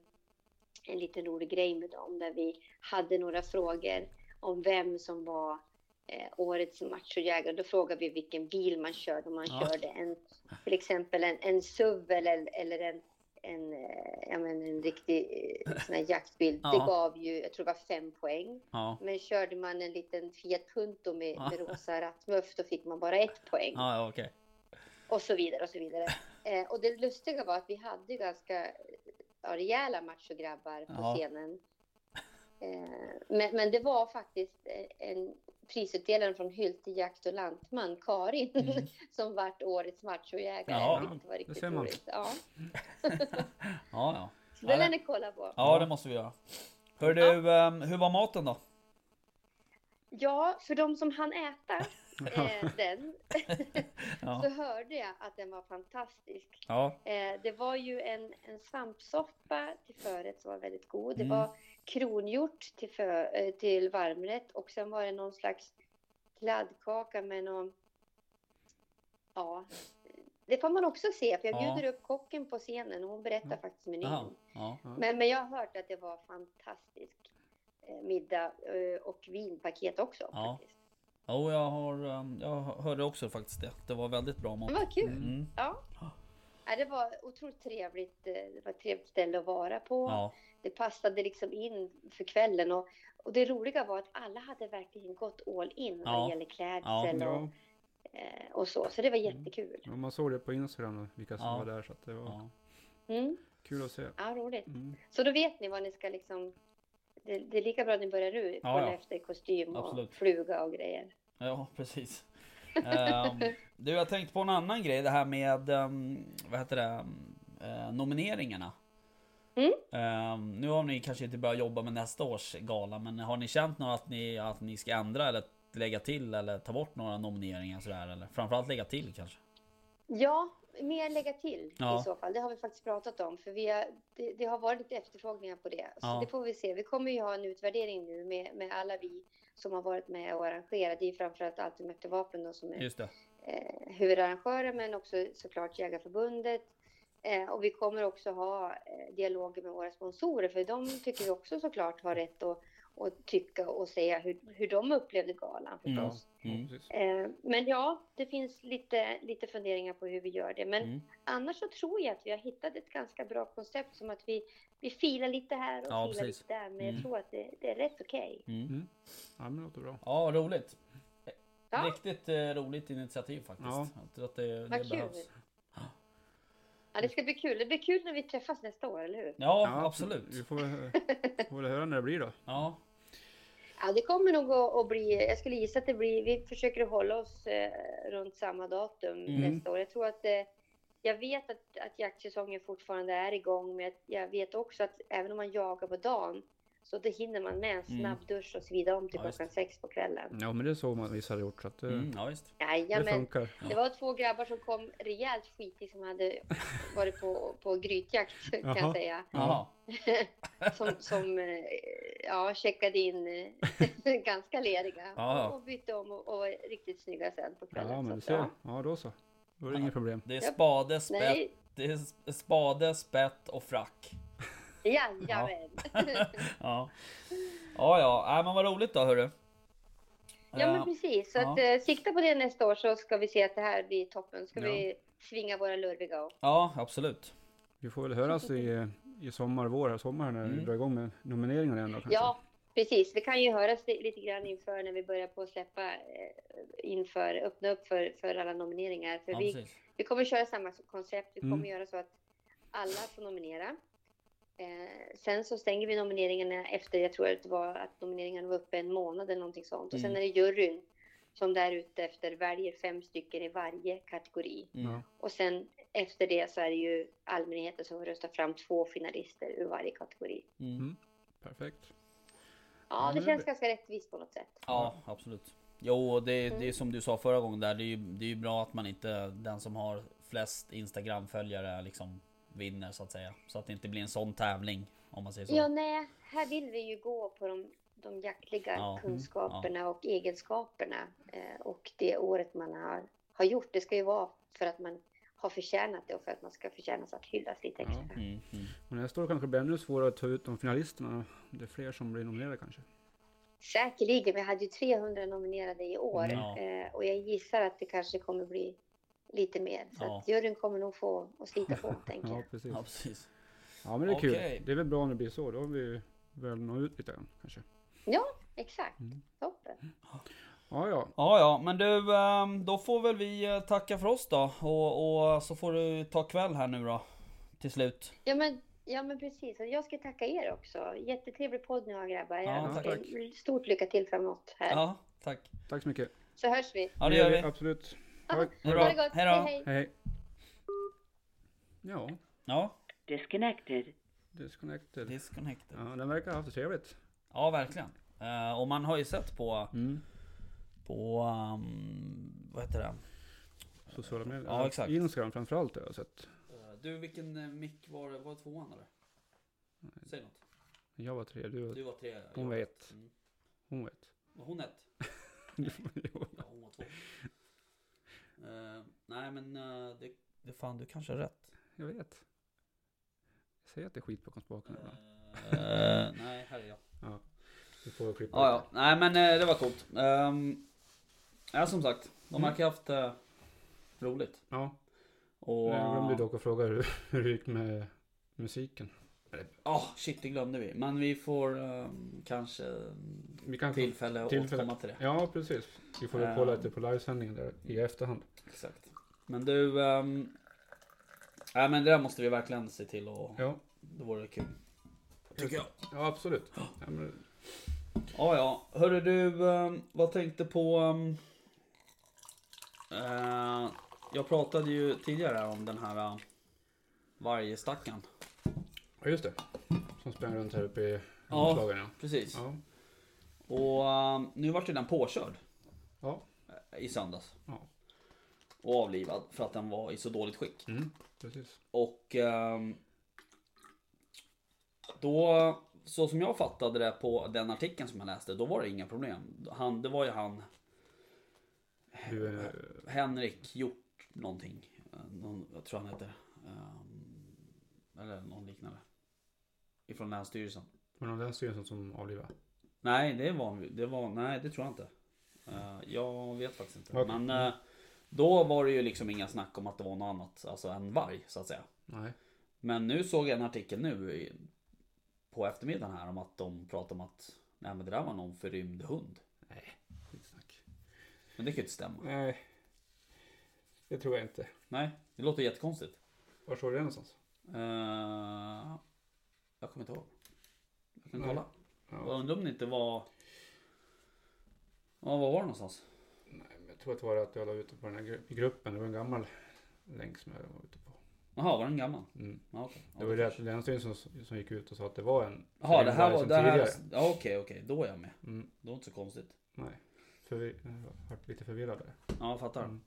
Speaker 4: en liten rolig grej med dem där vi hade några frågor om vem som var eh, årets machojägare. Då frågar vi vilken bil man körde, om man
Speaker 1: Ja.
Speaker 4: körde en, till exempel en, en SUV eller, eller en, en, eh, ja, men en riktig eh, sån här jaktbil.
Speaker 1: Ja.
Speaker 4: Det gav ju, jag tror det var fem poäng.
Speaker 1: Ja,
Speaker 4: Men körde man en liten Fiat Punto med,
Speaker 1: Ja.
Speaker 4: med rosa rattmuff, då fick man bara ett poäng.
Speaker 1: ja ja, okej.
Speaker 4: Och så vidare och så vidare. Eh, och det lustiga var att vi hade ju ganska ja, rejäla machograbbar på
Speaker 1: Ja.
Speaker 4: scenen. Eh, men, men det var faktiskt eh, en prisutdelare från Hylte Jakt och Lantman, Karin,
Speaker 1: Mm.
Speaker 4: som vart årets machojägare.
Speaker 1: Ja,
Speaker 4: vilket var riktigt
Speaker 2: ser man.
Speaker 4: roligt. Ja.
Speaker 1: Ja, ja.
Speaker 4: Så
Speaker 1: Ja,
Speaker 4: det lär
Speaker 1: det-
Speaker 4: ni kolla på.
Speaker 1: ja, det måste vi göra. Hör du, ehm, hur var maten då?
Speaker 4: Ja, för de som hann äta eh, den så
Speaker 1: Ja,
Speaker 4: hörde jag att den var fantastisk.
Speaker 1: ja,
Speaker 4: Eh, det var ju en, en svampsoppa till förrätt som var väldigt god. Det
Speaker 1: Mm.
Speaker 4: var kronhjort till, för, eh, till varmrätt och sen var det någon slags kladdkaka med någon... Ja, det får man också se för jag
Speaker 1: Ja.
Speaker 4: bjuder upp kocken på scenen och hon berättar
Speaker 2: Ja.
Speaker 4: faktiskt menyn.
Speaker 1: Jaha, ja.
Speaker 4: Men, men jag har hört att det var fantastisk eh, middag eh, och vinpaket också.
Speaker 1: Ja.
Speaker 4: Faktiskt.
Speaker 1: Jo, jag, har, ehm, jag hörde också faktiskt det. Det var väldigt bra mat.
Speaker 4: Det var kul.
Speaker 1: Mm.
Speaker 4: Ja. Ja, det var otroligt trevligt. eh, Det var ett trevligt ställe att vara på.
Speaker 1: Ja,
Speaker 4: det passade liksom in för kvällen. Och, och det roliga var att alla hade verkligen gått all in vad
Speaker 1: Ja.
Speaker 4: det gäller
Speaker 1: Ja.
Speaker 4: klädsel
Speaker 2: Ja,
Speaker 4: och, eh, och så. Så det var jättekul.
Speaker 2: och man såg det på Instagram då, vilka som
Speaker 1: Ja.
Speaker 2: var där så att det var
Speaker 1: ja.
Speaker 4: Mm.
Speaker 2: kul att se.
Speaker 4: Ja, roligt.
Speaker 2: Mm.
Speaker 4: Så då vet ni vad ni ska liksom... Det, det är lika bra att ni börjar nu.
Speaker 1: Ja,
Speaker 4: Kolla
Speaker 1: ja.
Speaker 4: efter kostym och
Speaker 1: Absolut.
Speaker 4: fluga och grejer.
Speaker 1: Ja, precis. Ehm, du, jag tänkte på en annan grej, det här med ehm, vad heter det, eh, nomineringarna.
Speaker 4: Mm.
Speaker 1: Ehm, nu har ni kanske inte börjat jobba med nästa års gala, men har ni känt något att ni, att ni ska ändra eller lägga till eller ta bort några nomineringar sådär? Eller framförallt lägga till kanske?
Speaker 4: Ja, mer lägga till
Speaker 1: Ja.
Speaker 4: i så fall. Det har vi faktiskt pratat om. För vi har, det, det har varit lite efterfrågningar på det. Så
Speaker 1: Ja.
Speaker 4: det får vi se. Vi kommer ju ha en utvärdering nu med, med alla vi som har varit med och arrangerat. Det är ju framförallt Ultimate Vapen då, som är
Speaker 1: Just det.
Speaker 4: eh, huvudarrangörer men också såklart Jägarförbundet. Eh, och vi kommer också ha eh, dialoger med våra sponsorer för de tycker vi också såklart har rätt att, att tycka och säga hur, hur de upplevde galan
Speaker 1: Mm.
Speaker 4: förstås.
Speaker 1: Mm.
Speaker 2: Ja, precis.
Speaker 4: Eh, men ja, det finns lite, lite funderingar på hur vi gör det. Men
Speaker 1: Mm.
Speaker 4: annars så tror jag att vi har hittat ett ganska bra koncept som att vi, vi filar lite här och
Speaker 1: Ja,
Speaker 4: filar
Speaker 1: precis.
Speaker 4: lite där. Men
Speaker 1: Mm.
Speaker 4: jag tror att det, det är rätt okej.
Speaker 1: Mm.
Speaker 2: Ja, men det låter bra.
Speaker 1: Ja, roligt.
Speaker 4: Ja.
Speaker 1: Riktigt eh, roligt initiativ faktiskt.
Speaker 2: Ja.
Speaker 1: Jag tror att det,
Speaker 4: Vad
Speaker 1: det
Speaker 4: kul.
Speaker 1: behövs.
Speaker 4: Ja, det ska bli kul. Det blir kul när vi träffas nästa år, eller hur?
Speaker 1: Ja,
Speaker 2: Ja, Vi
Speaker 1: absolut.
Speaker 2: får väl, får väl höra när det blir då.
Speaker 1: Ja,
Speaker 4: Ja, det kommer nog att, att bli, jag skulle gissa att det blir, vi försöker att hålla oss eh, runt samma datum
Speaker 1: Mm.
Speaker 4: nästa år. Jag tror att, eh, jag vet att, att jaktsäsongen fortfarande är igång, men jag, jag vet också att även om man jagar på dagen, så det hinner man med en
Speaker 1: Mm.
Speaker 4: snabb dusch och svida om till
Speaker 1: Ja, just
Speaker 4: klockan sex på kvällen.
Speaker 2: Ja, men det såg man vissa hade gjort så att det,
Speaker 1: mm, ja visst.
Speaker 2: det
Speaker 4: Jajamän.
Speaker 2: funkar.
Speaker 4: Det var två grabbar som kom rejält skitig som hade varit på, på grytjakt kan
Speaker 2: Jaha.
Speaker 4: jag säga.
Speaker 1: Jaha.
Speaker 4: som, som eh, ja, checkade in eh, ganska lediga
Speaker 1: Ja.
Speaker 4: och bytte om och, och var riktigt snygga sen på kvällen.
Speaker 2: Ja,
Speaker 4: så
Speaker 2: men du
Speaker 4: att, ja.
Speaker 2: ser. Ja, då så. Då är det inget problem.
Speaker 1: Det är
Speaker 4: Japp.
Speaker 1: spade, spett,
Speaker 4: Nej,
Speaker 1: det är sp- spade, spett och frack.
Speaker 4: jajamän. Ja.
Speaker 1: Ja, ja, ja. Äh, men vad roligt då hörru.
Speaker 4: ja, men
Speaker 1: Eh,
Speaker 4: precis. Så
Speaker 1: ja.
Speaker 4: att, eh, sikta på det nästa år så ska vi se att det här blir toppen. Ska
Speaker 2: Ja.
Speaker 4: vi svinga våra lurviga och...
Speaker 1: ja, absolut.
Speaker 2: Vi får väl höras i, i sommar, vår, här, sommar när
Speaker 1: Mm.
Speaker 2: vi drar igång med nomineringarna igen då kanske.
Speaker 4: Ja, precis. Vi kan ju höras li- lite grann inför när vi börjar på att släppa eh, inför, öppna upp för, för alla nomineringar. För
Speaker 1: Ja,
Speaker 4: vi,
Speaker 1: precis.
Speaker 4: Vi kommer köra samma koncept. Vi kommer
Speaker 2: Mm.
Speaker 4: göra så att alla får nominera. Eh, sen så stänger vi nomineringarna efter, jag tror att det var att nomineringarna var uppe en månad eller någonting sånt. Och sen
Speaker 1: Mm.
Speaker 4: är det juryn som där ute efter väljer fem stycken i varje kategori.
Speaker 1: Mm.
Speaker 2: Ja.
Speaker 4: Och sen efter det så är det ju allmänheten som röstar fram två finalister ur varje kategori.
Speaker 1: Mm.
Speaker 2: Mm. Perfekt.
Speaker 4: Ja,
Speaker 2: Ja,
Speaker 4: det
Speaker 2: men det
Speaker 4: känns
Speaker 2: blir-
Speaker 4: ganska rättvist på något sätt.
Speaker 1: Ja, absolut. Jo, och det, det är
Speaker 4: Mm.
Speaker 1: som du sa förra gången där. Det är ju, det är ju bra att man inte, den som har flest Instagram-följare liksom vinner så att säga. Så att det inte blir en sån tävling om man säger så.
Speaker 4: Ja, nej, här vill vi ju gå på de, de jaktliga
Speaker 1: Ja,
Speaker 4: kunskaperna och egenskaperna eh, och det året man har, har gjort. Det ska ju vara för att man har förtjänat det och för att man ska förtjänas att hyllas lite
Speaker 2: Ja.
Speaker 4: extra.
Speaker 1: Mm, mm.
Speaker 2: Och nästa år kanske det blir ännu svårare att ta ut de finalisterna. då. Det är fler som blir nominerade kanske.
Speaker 4: Säkerligen, vi hade ju 300 nominerade i år
Speaker 1: Mm, Ja.
Speaker 4: eh, och jag gissar att det kanske kommer bli lite mer. Så
Speaker 1: Ja.
Speaker 4: att juryn kommer nog få att slita på, tänker
Speaker 2: Ja,
Speaker 4: jag.
Speaker 2: precis.
Speaker 1: Ja, precis.
Speaker 2: Ja, men det är kul.
Speaker 1: Okej.
Speaker 2: Det är väl bra när det blir så. Då har vi väl nått ut lite grann kanske.
Speaker 4: Exakt,
Speaker 2: Mm.
Speaker 4: toppen.
Speaker 2: Ja, ja.
Speaker 1: Ja, ja, men du, ehm, då får väl vi eh, tacka för oss då. Och, och så får du ta kväll här nu då. Till slut.
Speaker 4: Ja men, ja, men precis. Och jag ska tacka er också. Jättetrevlig podd ni har grabbar.
Speaker 1: Ja,
Speaker 4: Jag
Speaker 1: tack.
Speaker 4: önskar er Stort lycka till framåt här.
Speaker 1: Ja, tack.
Speaker 2: Tack så mycket.
Speaker 4: Så hörs vi.
Speaker 1: Ja, det gör vi.
Speaker 2: Absolut.
Speaker 4: Ja,
Speaker 2: Tack.
Speaker 1: det
Speaker 4: Ha
Speaker 1: bra.
Speaker 4: det gott.
Speaker 1: Hej då.
Speaker 4: Hej,
Speaker 2: Hej,
Speaker 4: hej.
Speaker 2: hej. Ja,
Speaker 1: Ja,
Speaker 3: Disconnected.
Speaker 2: disconnected. Ja,
Speaker 1: disconnected.
Speaker 2: den verkar ha haft det trevligt.
Speaker 1: Ja, verkligen. Eh, och man har ju sett på,
Speaker 2: Mm.
Speaker 1: på ehm, vad heter det?
Speaker 2: Sociala medier.
Speaker 1: Ja, exakt.
Speaker 2: Instagram framförallt har jag sett.
Speaker 1: Eh, Du, vilken mick var det? Var det tvåan eller? Säg något.
Speaker 2: Jag var tre, du var...
Speaker 1: var tre.
Speaker 2: Hon vet. Hon vet.
Speaker 1: Var hon ett?
Speaker 2: Jo.
Speaker 1: Ja, hon var två. Eh, nej men eh, det, det fan du kanske har rätt.
Speaker 2: jag vet. Jag säger att det är skit bakom
Speaker 1: Eh,
Speaker 2: spaken ibland.
Speaker 1: nej, här är jag.
Speaker 2: Du får klippa
Speaker 1: Ja, ja. Nej men eh, det var coolt. Ehm, ja som sagt, de verkar ha haft eh, roligt.
Speaker 2: ja.
Speaker 1: Och...
Speaker 2: Jag glömde dock att fråga hur, hur det gick med musiken.
Speaker 1: Ja, ah, shit det glömde vi. Men vi får eh, kanske
Speaker 2: Vi kan
Speaker 1: tillfälle att
Speaker 2: Tillfälle.
Speaker 1: återkomma till det.
Speaker 2: Ja, precis. Vi får väl kolla lite på livesändningen där i efterhand.
Speaker 1: Exakt. Men du... ehm, nej men det där måste vi verkligen se till och...
Speaker 2: Ja,
Speaker 1: Det vore kul. Tycker jag.
Speaker 2: ja absolut. Ja, men,
Speaker 1: Ja, ja. Hörru du, ehm, vad tänkte på... ehm, eh, jag pratade ju tidigare om den här eh, vargstackaren.
Speaker 2: ja, just det. Som sprang runt här uppe i
Speaker 1: Ja.
Speaker 2: omslagen. Ja.
Speaker 1: Precis.
Speaker 2: Ja.
Speaker 1: Och ehm, nu vart ju den påkörd
Speaker 2: ja.
Speaker 1: eh, i söndags.
Speaker 2: Ja.
Speaker 1: Och avlivad för att den var i så dåligt skick.
Speaker 2: Mm, precis.
Speaker 1: Och ehm, då, så som jag fattade det på den artikeln som jag läste, då var det inga problem. Han, det var ju han
Speaker 2: Du, eh,
Speaker 1: Henrik gjort någonting. Eh, Någon, jag tror han heter. Ehm, eller någon liknande. Ifrån Länsstyrelsen.
Speaker 2: var det någon länsstyrelsen som avlivade?
Speaker 1: Nej, det var, det var, nej, det tror jag inte. Eh, jag vet faktiskt inte.
Speaker 2: Okej.
Speaker 1: Men eh, då var det ju liksom inga snack om att det var något annat, alltså en varg så att säga.
Speaker 2: Nej.
Speaker 1: Men nu såg jag en artikel nu i, på eftermiddagen här om att de pratade om att nej men det där var någon förrymd hund.
Speaker 2: Skitsnack.
Speaker 1: Men det kan ju inte stämma.
Speaker 2: Nej. Det tror jag inte.
Speaker 1: Nej, det låter jättekonstigt.
Speaker 2: Var såg du det någonstans?
Speaker 1: Eh, jag kommer inte ihåg. Jag kan
Speaker 2: Nej.
Speaker 1: kolla. Jag
Speaker 2: Ja.
Speaker 1: undrar om det inte var... Ja, var var det någonstans?
Speaker 2: Nej, men jag tror att det var att jag la ut det på den här gru- gruppen. Det var en gammal länk som jag var ute på.
Speaker 1: Jaha, var den gammal?
Speaker 2: Mm.
Speaker 1: Ja, okej. Ja,
Speaker 2: Det var ju det att länsstyrelsen som, som gick ut och sa att det var en
Speaker 1: Jaha, det här
Speaker 2: varg
Speaker 1: var...
Speaker 2: som
Speaker 1: Det här,
Speaker 2: tidigare.
Speaker 1: ja, okej, okej. Då är jag med.
Speaker 2: Mm,
Speaker 1: Det var inte så konstigt.
Speaker 2: nej. Förvi- jag har varit lite förvirrad där.
Speaker 1: Ja, jag fattar.
Speaker 2: Mm.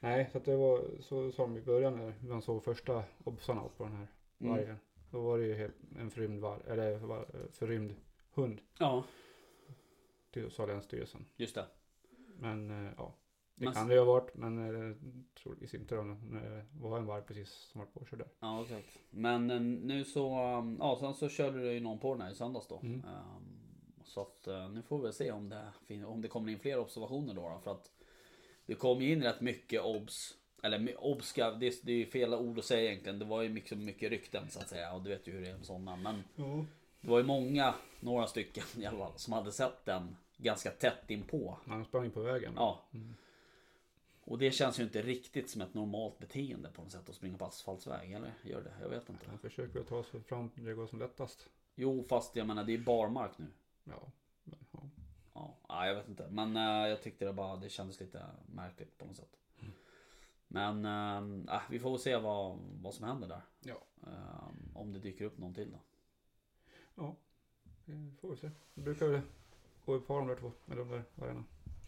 Speaker 2: Nej, så att det var så sa de i början när man såg första obsarna på den här
Speaker 1: Mm.
Speaker 2: vargen. Då var det ju helt, en förrymd, var, eller, var, förrymd hund,
Speaker 1: Ja,
Speaker 2: till- sa länsstyrelsen.
Speaker 1: just det.
Speaker 2: Men eh, ja, det
Speaker 1: Men-
Speaker 2: kan det ju ha varit, men eh, troligtvis inte om det eh, var en varg precis som var påkörd där.
Speaker 1: Ja, exakt. Men eh, nu så... um, Ja, sen så körde du ju någon på den här i söndags då.
Speaker 2: Mm.
Speaker 1: Ehm, så att eh, nu får vi väl se om det, fin- om det kommer in fler observationer då. då för att det kom ju in rätt mycket obs. Eller my- obs, ska- det, är- det är ju fel ord att säga egentligen. Det var ju mycket, mycket rykten så att säga. Och du vet ju hur det är med sådana. Men
Speaker 2: Ja.
Speaker 1: det var ju många, några stycken i alla fall, som hade sett den ganska tätt inpå.
Speaker 2: Han sprang ju på vägen.
Speaker 1: Ja. Och det känns ju inte riktigt som ett normalt beteende på något sätt att springa på asfaltsväg. Eller gör det? Jag vet inte.
Speaker 2: Han försöker väl ta sig fram där det går som lättast.
Speaker 1: Jo, fast jag menar det är barmark nu.
Speaker 2: Ja. Men, ja.
Speaker 1: Ja, ja, jag vet inte. Men eh, jag tyckte det bara det kändes lite märkligt på något sätt. Men eh, ah, vi får väl se vad, vad som händer där.
Speaker 2: Ja.
Speaker 1: Eh, om det dyker upp någon till då.
Speaker 2: Ja, det får vi se. Det brukar väl gå i par de där två, eller de där vargarna.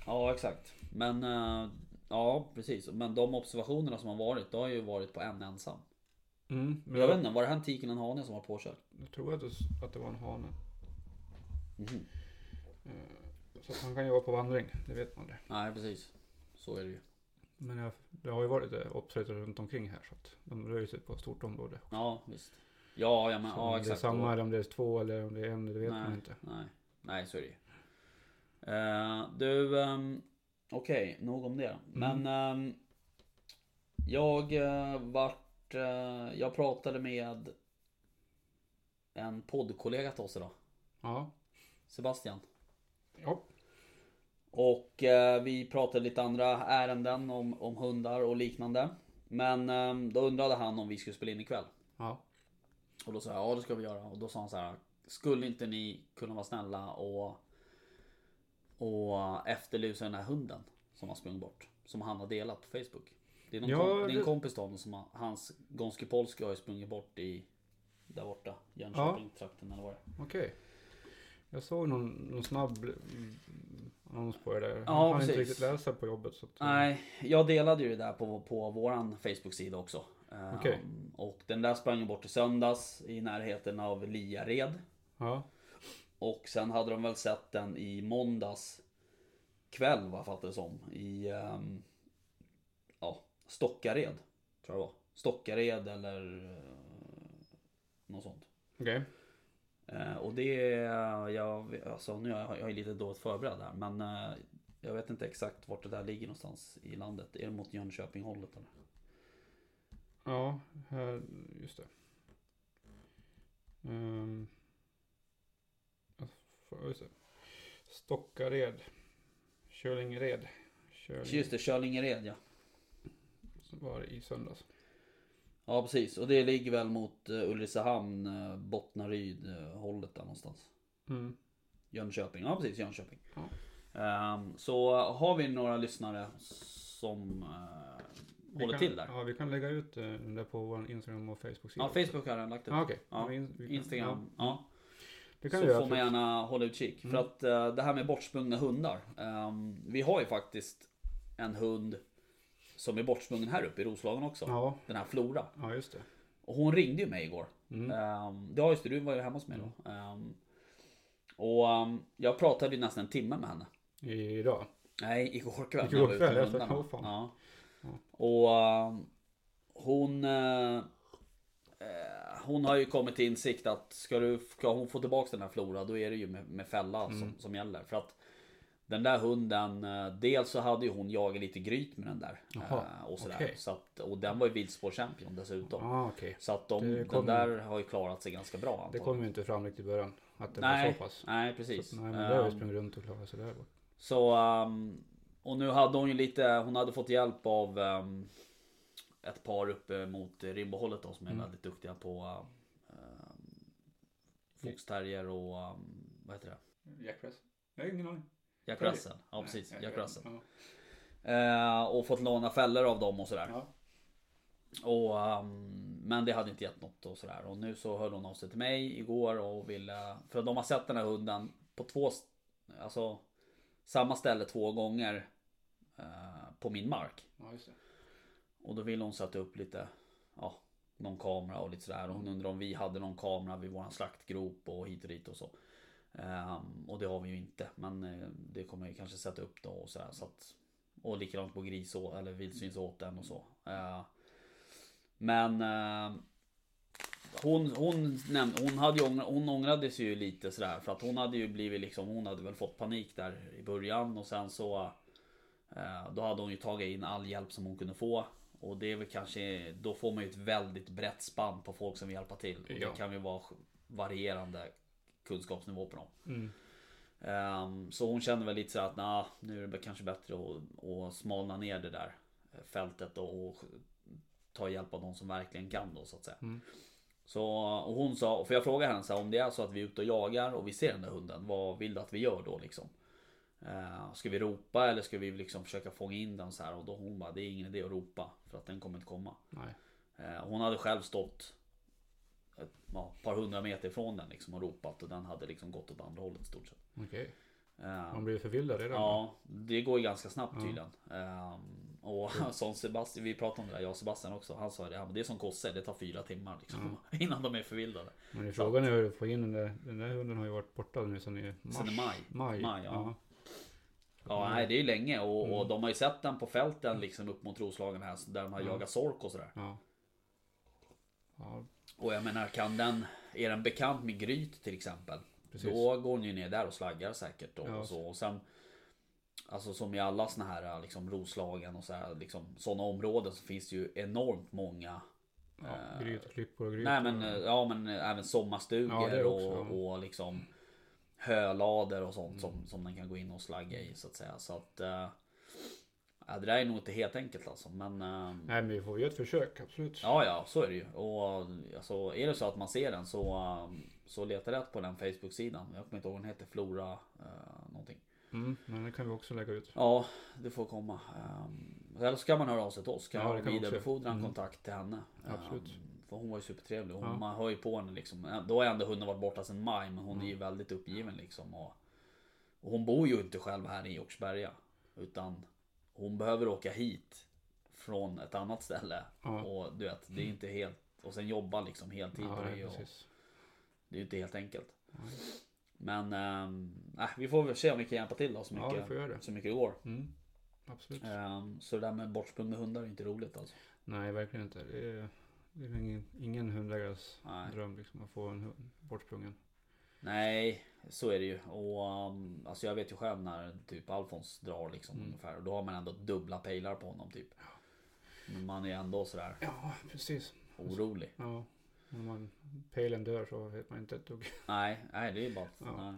Speaker 1: Ja, exakt. Men eh, ja, precis. Men de observationerna som har varit, det har ju varit på en ensam.
Speaker 2: Mm, men
Speaker 1: Jag vet inte, var det han tiken och en hane som var påkörd?
Speaker 2: jag tror att det, att det var en hane.
Speaker 1: Mhm.
Speaker 2: Eh, Så att han kan ju vara på vandring, det vet man det.
Speaker 1: Nej, precis. Så är det ju.
Speaker 2: Men jag, det har ju varit lite observatörer runt omkring här så att de rör ju sig på ett stort område.
Speaker 1: Ja, visst. Ja, ja, men,
Speaker 2: Så
Speaker 1: ja
Speaker 2: om det är
Speaker 1: exakt.
Speaker 2: samma eller om det är två eller om det är en, det vet
Speaker 1: nej,
Speaker 2: man inte.
Speaker 1: Nej, nej, så är det ju. Eh, du, um, okej, nog om
Speaker 2: Mm.
Speaker 1: det. Men ehm, jag eh, vart, eh, jag pratade med en poddkollega till oss idag.
Speaker 2: Ja.
Speaker 1: Sebastian.
Speaker 2: Ja.
Speaker 1: Och eh, vi pratade lite andra ärenden om, om hundar och liknande. Men ehm, då undrade han om vi skulle spela in ikväll.
Speaker 2: Ja.
Speaker 1: Och då sa jag ja det ska vi göra. Och då sa han så här. Skulle inte ni kunna vara snälla och, och efterlysa den här hunden som har sprungit bort? Som han har delat på Facebook. Det är någon
Speaker 2: Ja,
Speaker 1: kom, det är
Speaker 2: det-
Speaker 1: en kompis till honom som har, hans Gonski Polski har ju sprungit bort i där borta. Jönköping-trakten eller vad det är.
Speaker 2: Okej. Jag såg någon, någon snabb mm, annons på det där.
Speaker 1: Ja,
Speaker 2: jag hann
Speaker 1: precis.
Speaker 2: inte riktigt läsa på jobbet. Så att,
Speaker 1: Nej, jag delade ju det där på, på våran Facebook-sida också. Ehm,
Speaker 2: Okej.
Speaker 1: Och den där sprang ju bort i söndags i närheten av Liared.
Speaker 2: Ja.
Speaker 1: Och sen hade de väl sett den i måndags kväll vad jag fattar det som. I ehm, ja, Stockared. Tror jag det var. Stockared eller eh, något sånt.
Speaker 2: Okej.
Speaker 1: Eh, och det är, jag, alltså nu är jag, jag är lite dåligt förberedd här men eh, jag vet inte exakt vart det där ligger någonstans i landet. Är det mot Jönköping hållet eller?
Speaker 2: Ja, här, just det. Um, just det. Stockared. Kölingered.
Speaker 1: Just
Speaker 2: Köling
Speaker 1: det, Kölingered ja.
Speaker 2: var i söndags.
Speaker 1: Ja precis och det ligger väl mot eh, Ulricehamn, eh, Bottnaryd eh, hållet där någonstans.
Speaker 2: Mm.
Speaker 1: Jönköping, ja precis Jönköping.
Speaker 2: Ja.
Speaker 1: Ehm, så har vi några lyssnare som eh,
Speaker 2: Vi
Speaker 1: håller
Speaker 2: kan,
Speaker 1: till där.
Speaker 2: Ja, vi kan lägga ut eh, den där på vår Instagram och Facebook-sida.
Speaker 1: Ja, Facebook har den lagt upp.
Speaker 2: Ah, okej.
Speaker 1: Ja,
Speaker 2: Men in- vi kan-
Speaker 1: Instagram. Ja.
Speaker 2: Ja, det kan
Speaker 1: så
Speaker 2: vi göra. Mm.
Speaker 1: får man
Speaker 2: absolut.
Speaker 1: gärna hålla utkik. För att eh, det här med bortsprungna hundar. ehm, vi har ju faktiskt en hund som är bortsprungen här uppe i Roslagen också.
Speaker 2: Ja,
Speaker 1: Den här Flora.
Speaker 2: ja, just det. Mm.
Speaker 1: Och hon ringde ju mig igår. Ehm, det har just det, du var ju hemma hos mig då. Ehm, och ehm, jag pratade ju nästan en timme med henne.
Speaker 2: I, idag.
Speaker 1: Nej, igår kväll. när jag
Speaker 2: Igår
Speaker 1: var ute
Speaker 2: kväll,
Speaker 1: med
Speaker 2: jag tänkte,
Speaker 1: hundarna.
Speaker 2: "Åh, fan."
Speaker 1: Ja. Och ehm, hon... eh, eh, hon har ju kommit till insikt att ska, du, ska hon få tillbaka den här Flora då är det ju med, med fälla som,
Speaker 2: Mm.
Speaker 1: som gäller. För att den där hunden, eh, dels så hade ju hon jagat lite gryt med den där. eh,
Speaker 2: Jaha,
Speaker 1: och, sådär.
Speaker 2: okej.
Speaker 1: så att, och den var ju viltspår champion dessutom.
Speaker 2: Ah, okej.
Speaker 1: Så att de,
Speaker 2: Det
Speaker 1: den
Speaker 2: kommer-
Speaker 1: där har ju klarat sig ganska bra
Speaker 2: Det
Speaker 1: antagligen.
Speaker 2: kom ju inte fram riktigt i början. Att det var
Speaker 1: nej,
Speaker 2: så pass.
Speaker 1: nej, precis.
Speaker 2: Nej, men det har ju
Speaker 1: Ehm,
Speaker 2: sprungit runt och klarat sig där bort.
Speaker 1: så, ehm, och nu hade hon ju lite, hon hade fått hjälp av ehm, ett par uppe mot Rimbohållet då som är väldigt duktiga på um, foxterrier och ehm, vad heter det?
Speaker 2: Jack Press? Jag har ingen aning.
Speaker 1: Jack
Speaker 2: Terrier?
Speaker 1: Russell. Ja precis, Jack Russell.
Speaker 2: Ja.
Speaker 1: Eh, och fått låna fällor av dem och sådär.
Speaker 2: Ja.
Speaker 1: Och, ehm, men det hade inte gett något och sådär. Och nu så hörde hon av sig till mig igår och ville... För de har sett den här hunden på två... st- Alltså samma ställe två gånger eh, på min mark.
Speaker 2: Ja, just det.
Speaker 1: Och då ville hon sätta upp lite, ja, någon kamera och lite sådär. Och hon undrade om vi hade någon kamera vid våran slaktgrop och hit och dit och så. Ehm, och det har vi ju inte, men eh, det kommer jag kanske sätta upp då och sådär. Så att, och likadant på gris och, eller vildsvinsåten och så. Eh, men eh, hon, hon, nämnde, hon, hade ju ångr, hon ångrade sig ju lite sådär för att hon hade ju blivit liksom, hon hade väl fått panik där i början och sen så Eh, Då hade hon ju tagit in all hjälp som hon kunde få. Och det är väl kanske, då får man ju ett väldigt brett spann på folk som vill hjälpa till. Och
Speaker 2: Ja.
Speaker 1: Det kan ju vara varierande kunskapsnivå på dem.
Speaker 2: Mm.
Speaker 1: Ehm, så hon kände väl lite så att nah, nu är det kanske bättre att, att smalna ner det där fältet då och ta hjälp av någon som verkligen kan då så att säga. Så och hon sa, för jag frågade henne så här, om det är så att vi är ute och jagar och vi ser den där hunden, vad vill du att vi gör då liksom? Eh, ska vi ropa eller ska vi liksom försöka fånga in den så här? Och då hon bara, det är ingen idé att ropa för att den kommer inte komma.
Speaker 2: Nej.
Speaker 1: Eh, hon hade själv stått ett ja, par hundra meter ifrån den liksom och ropat och den hade liksom gått åt andra hållet i stort sett.
Speaker 2: Okej.
Speaker 1: Eh,
Speaker 2: Man blir förvildad redan.
Speaker 1: Ja, det går ju ganska snabbt tydligen. Ehm, och som Sebastian, vi pratade om det där, jag och Sebastian också. Han sa det, ja, men det är som kossor, det tar fyra timmar
Speaker 2: Mm.
Speaker 1: liksom, innan de är förvildade.
Speaker 2: Men frågan är hur du får in den där. Den där hunden har ju varit borta nu sedan i mars.
Speaker 1: Sen i maj.
Speaker 2: Maj.
Speaker 1: Maj, ja.
Speaker 2: Mm.
Speaker 1: Ja, nej, det är ju länge och, och de har ju sett den på fälten liksom upp mot Roslagen här där de har
Speaker 2: Mm.
Speaker 1: jagat sork och sådär.
Speaker 2: ja. Ja,
Speaker 1: Och jag menar, kan den, är den bekant med gryt till exempel?
Speaker 2: Precis.
Speaker 1: Då går den ju ner där och slaggar säkert. Då,
Speaker 2: Ja.
Speaker 1: och, så. och sen Alltså som i alla såna här liksom Roslagen och så här, liksom, sådana områden så finns det ju enormt många
Speaker 2: Ja, grytklippor och grytor.
Speaker 1: eh, Nej men, eh, ja, men eh, även
Speaker 2: Ja,
Speaker 1: sommarstugor
Speaker 2: det också, ja. Mm.
Speaker 1: och, och liksom hölader och sånt som, som den kan gå in och slagga i så att säga. Så att eh, ja, det där är nog inte helt enkelt alltså. Men eh,
Speaker 2: Nej men vi får göra ett försök, absolut.
Speaker 1: ja, ja, så är det ju. Och alltså, är det så att man ser den så, eh, så leta rätt på den Facebook-sidan. Jag kommer inte ihåg vad den heter, Flora eh, någonting.
Speaker 2: Mm, men det kan vi också lägga ut.
Speaker 1: Ja, det får komma. Ehm, Eller så kan man höra av sig till oss. Kan
Speaker 2: Ja,
Speaker 1: jag
Speaker 2: det kan man också
Speaker 1: vidarebefordra en
Speaker 2: göra. Mm.
Speaker 1: kontakt till henne. Ehm,
Speaker 2: Absolut.
Speaker 1: För hon var ju supertrevlig. Hon,
Speaker 2: Ja.
Speaker 1: Man hör ju på henne liksom. Då har ändå hunden varit borta sedan maj men hon är ju
Speaker 2: Mm.
Speaker 1: väldigt uppgiven liksom. Och, och hon bor ju inte själv här i Hjortsberga. Utan hon behöver åka hit från ett annat ställe.
Speaker 2: Ja. Mm.
Speaker 1: Och du vet, det är inte helt... Och sen jobba liksom heltid
Speaker 2: Ja,
Speaker 1: på
Speaker 2: nej,
Speaker 1: det. Och,
Speaker 2: precis.
Speaker 1: det är ju inte helt enkelt. Men ehm, nej, vi får väl se om vi kan hjälpa till då så
Speaker 2: Ja, vi
Speaker 1: mycket,
Speaker 2: får göra det.
Speaker 1: Så mycket det går.
Speaker 2: Mm, absolut.
Speaker 1: Ehm, Så det där med bortsprungna hundar är inte roligt alltså.
Speaker 2: Nej, verkligen inte. Det är, det är väl ingen, ingen hundägares
Speaker 1: Nej.
Speaker 2: dröm liksom, att få en hund bortsprungen.
Speaker 1: Nej, så är det ju. Och um, alltså jag vet ju själv när typ Alfons drar liksom
Speaker 2: Mm.
Speaker 1: ungefär. Och då har man ändå dubbla pejlar på honom typ. Men man är ändå sådär
Speaker 2: Ja, precis.
Speaker 1: orolig.
Speaker 2: Ja, när man, pejlen dör så vet man inte ett dugg.
Speaker 1: Nej, nej det är bara...
Speaker 2: Ja.
Speaker 1: Nej.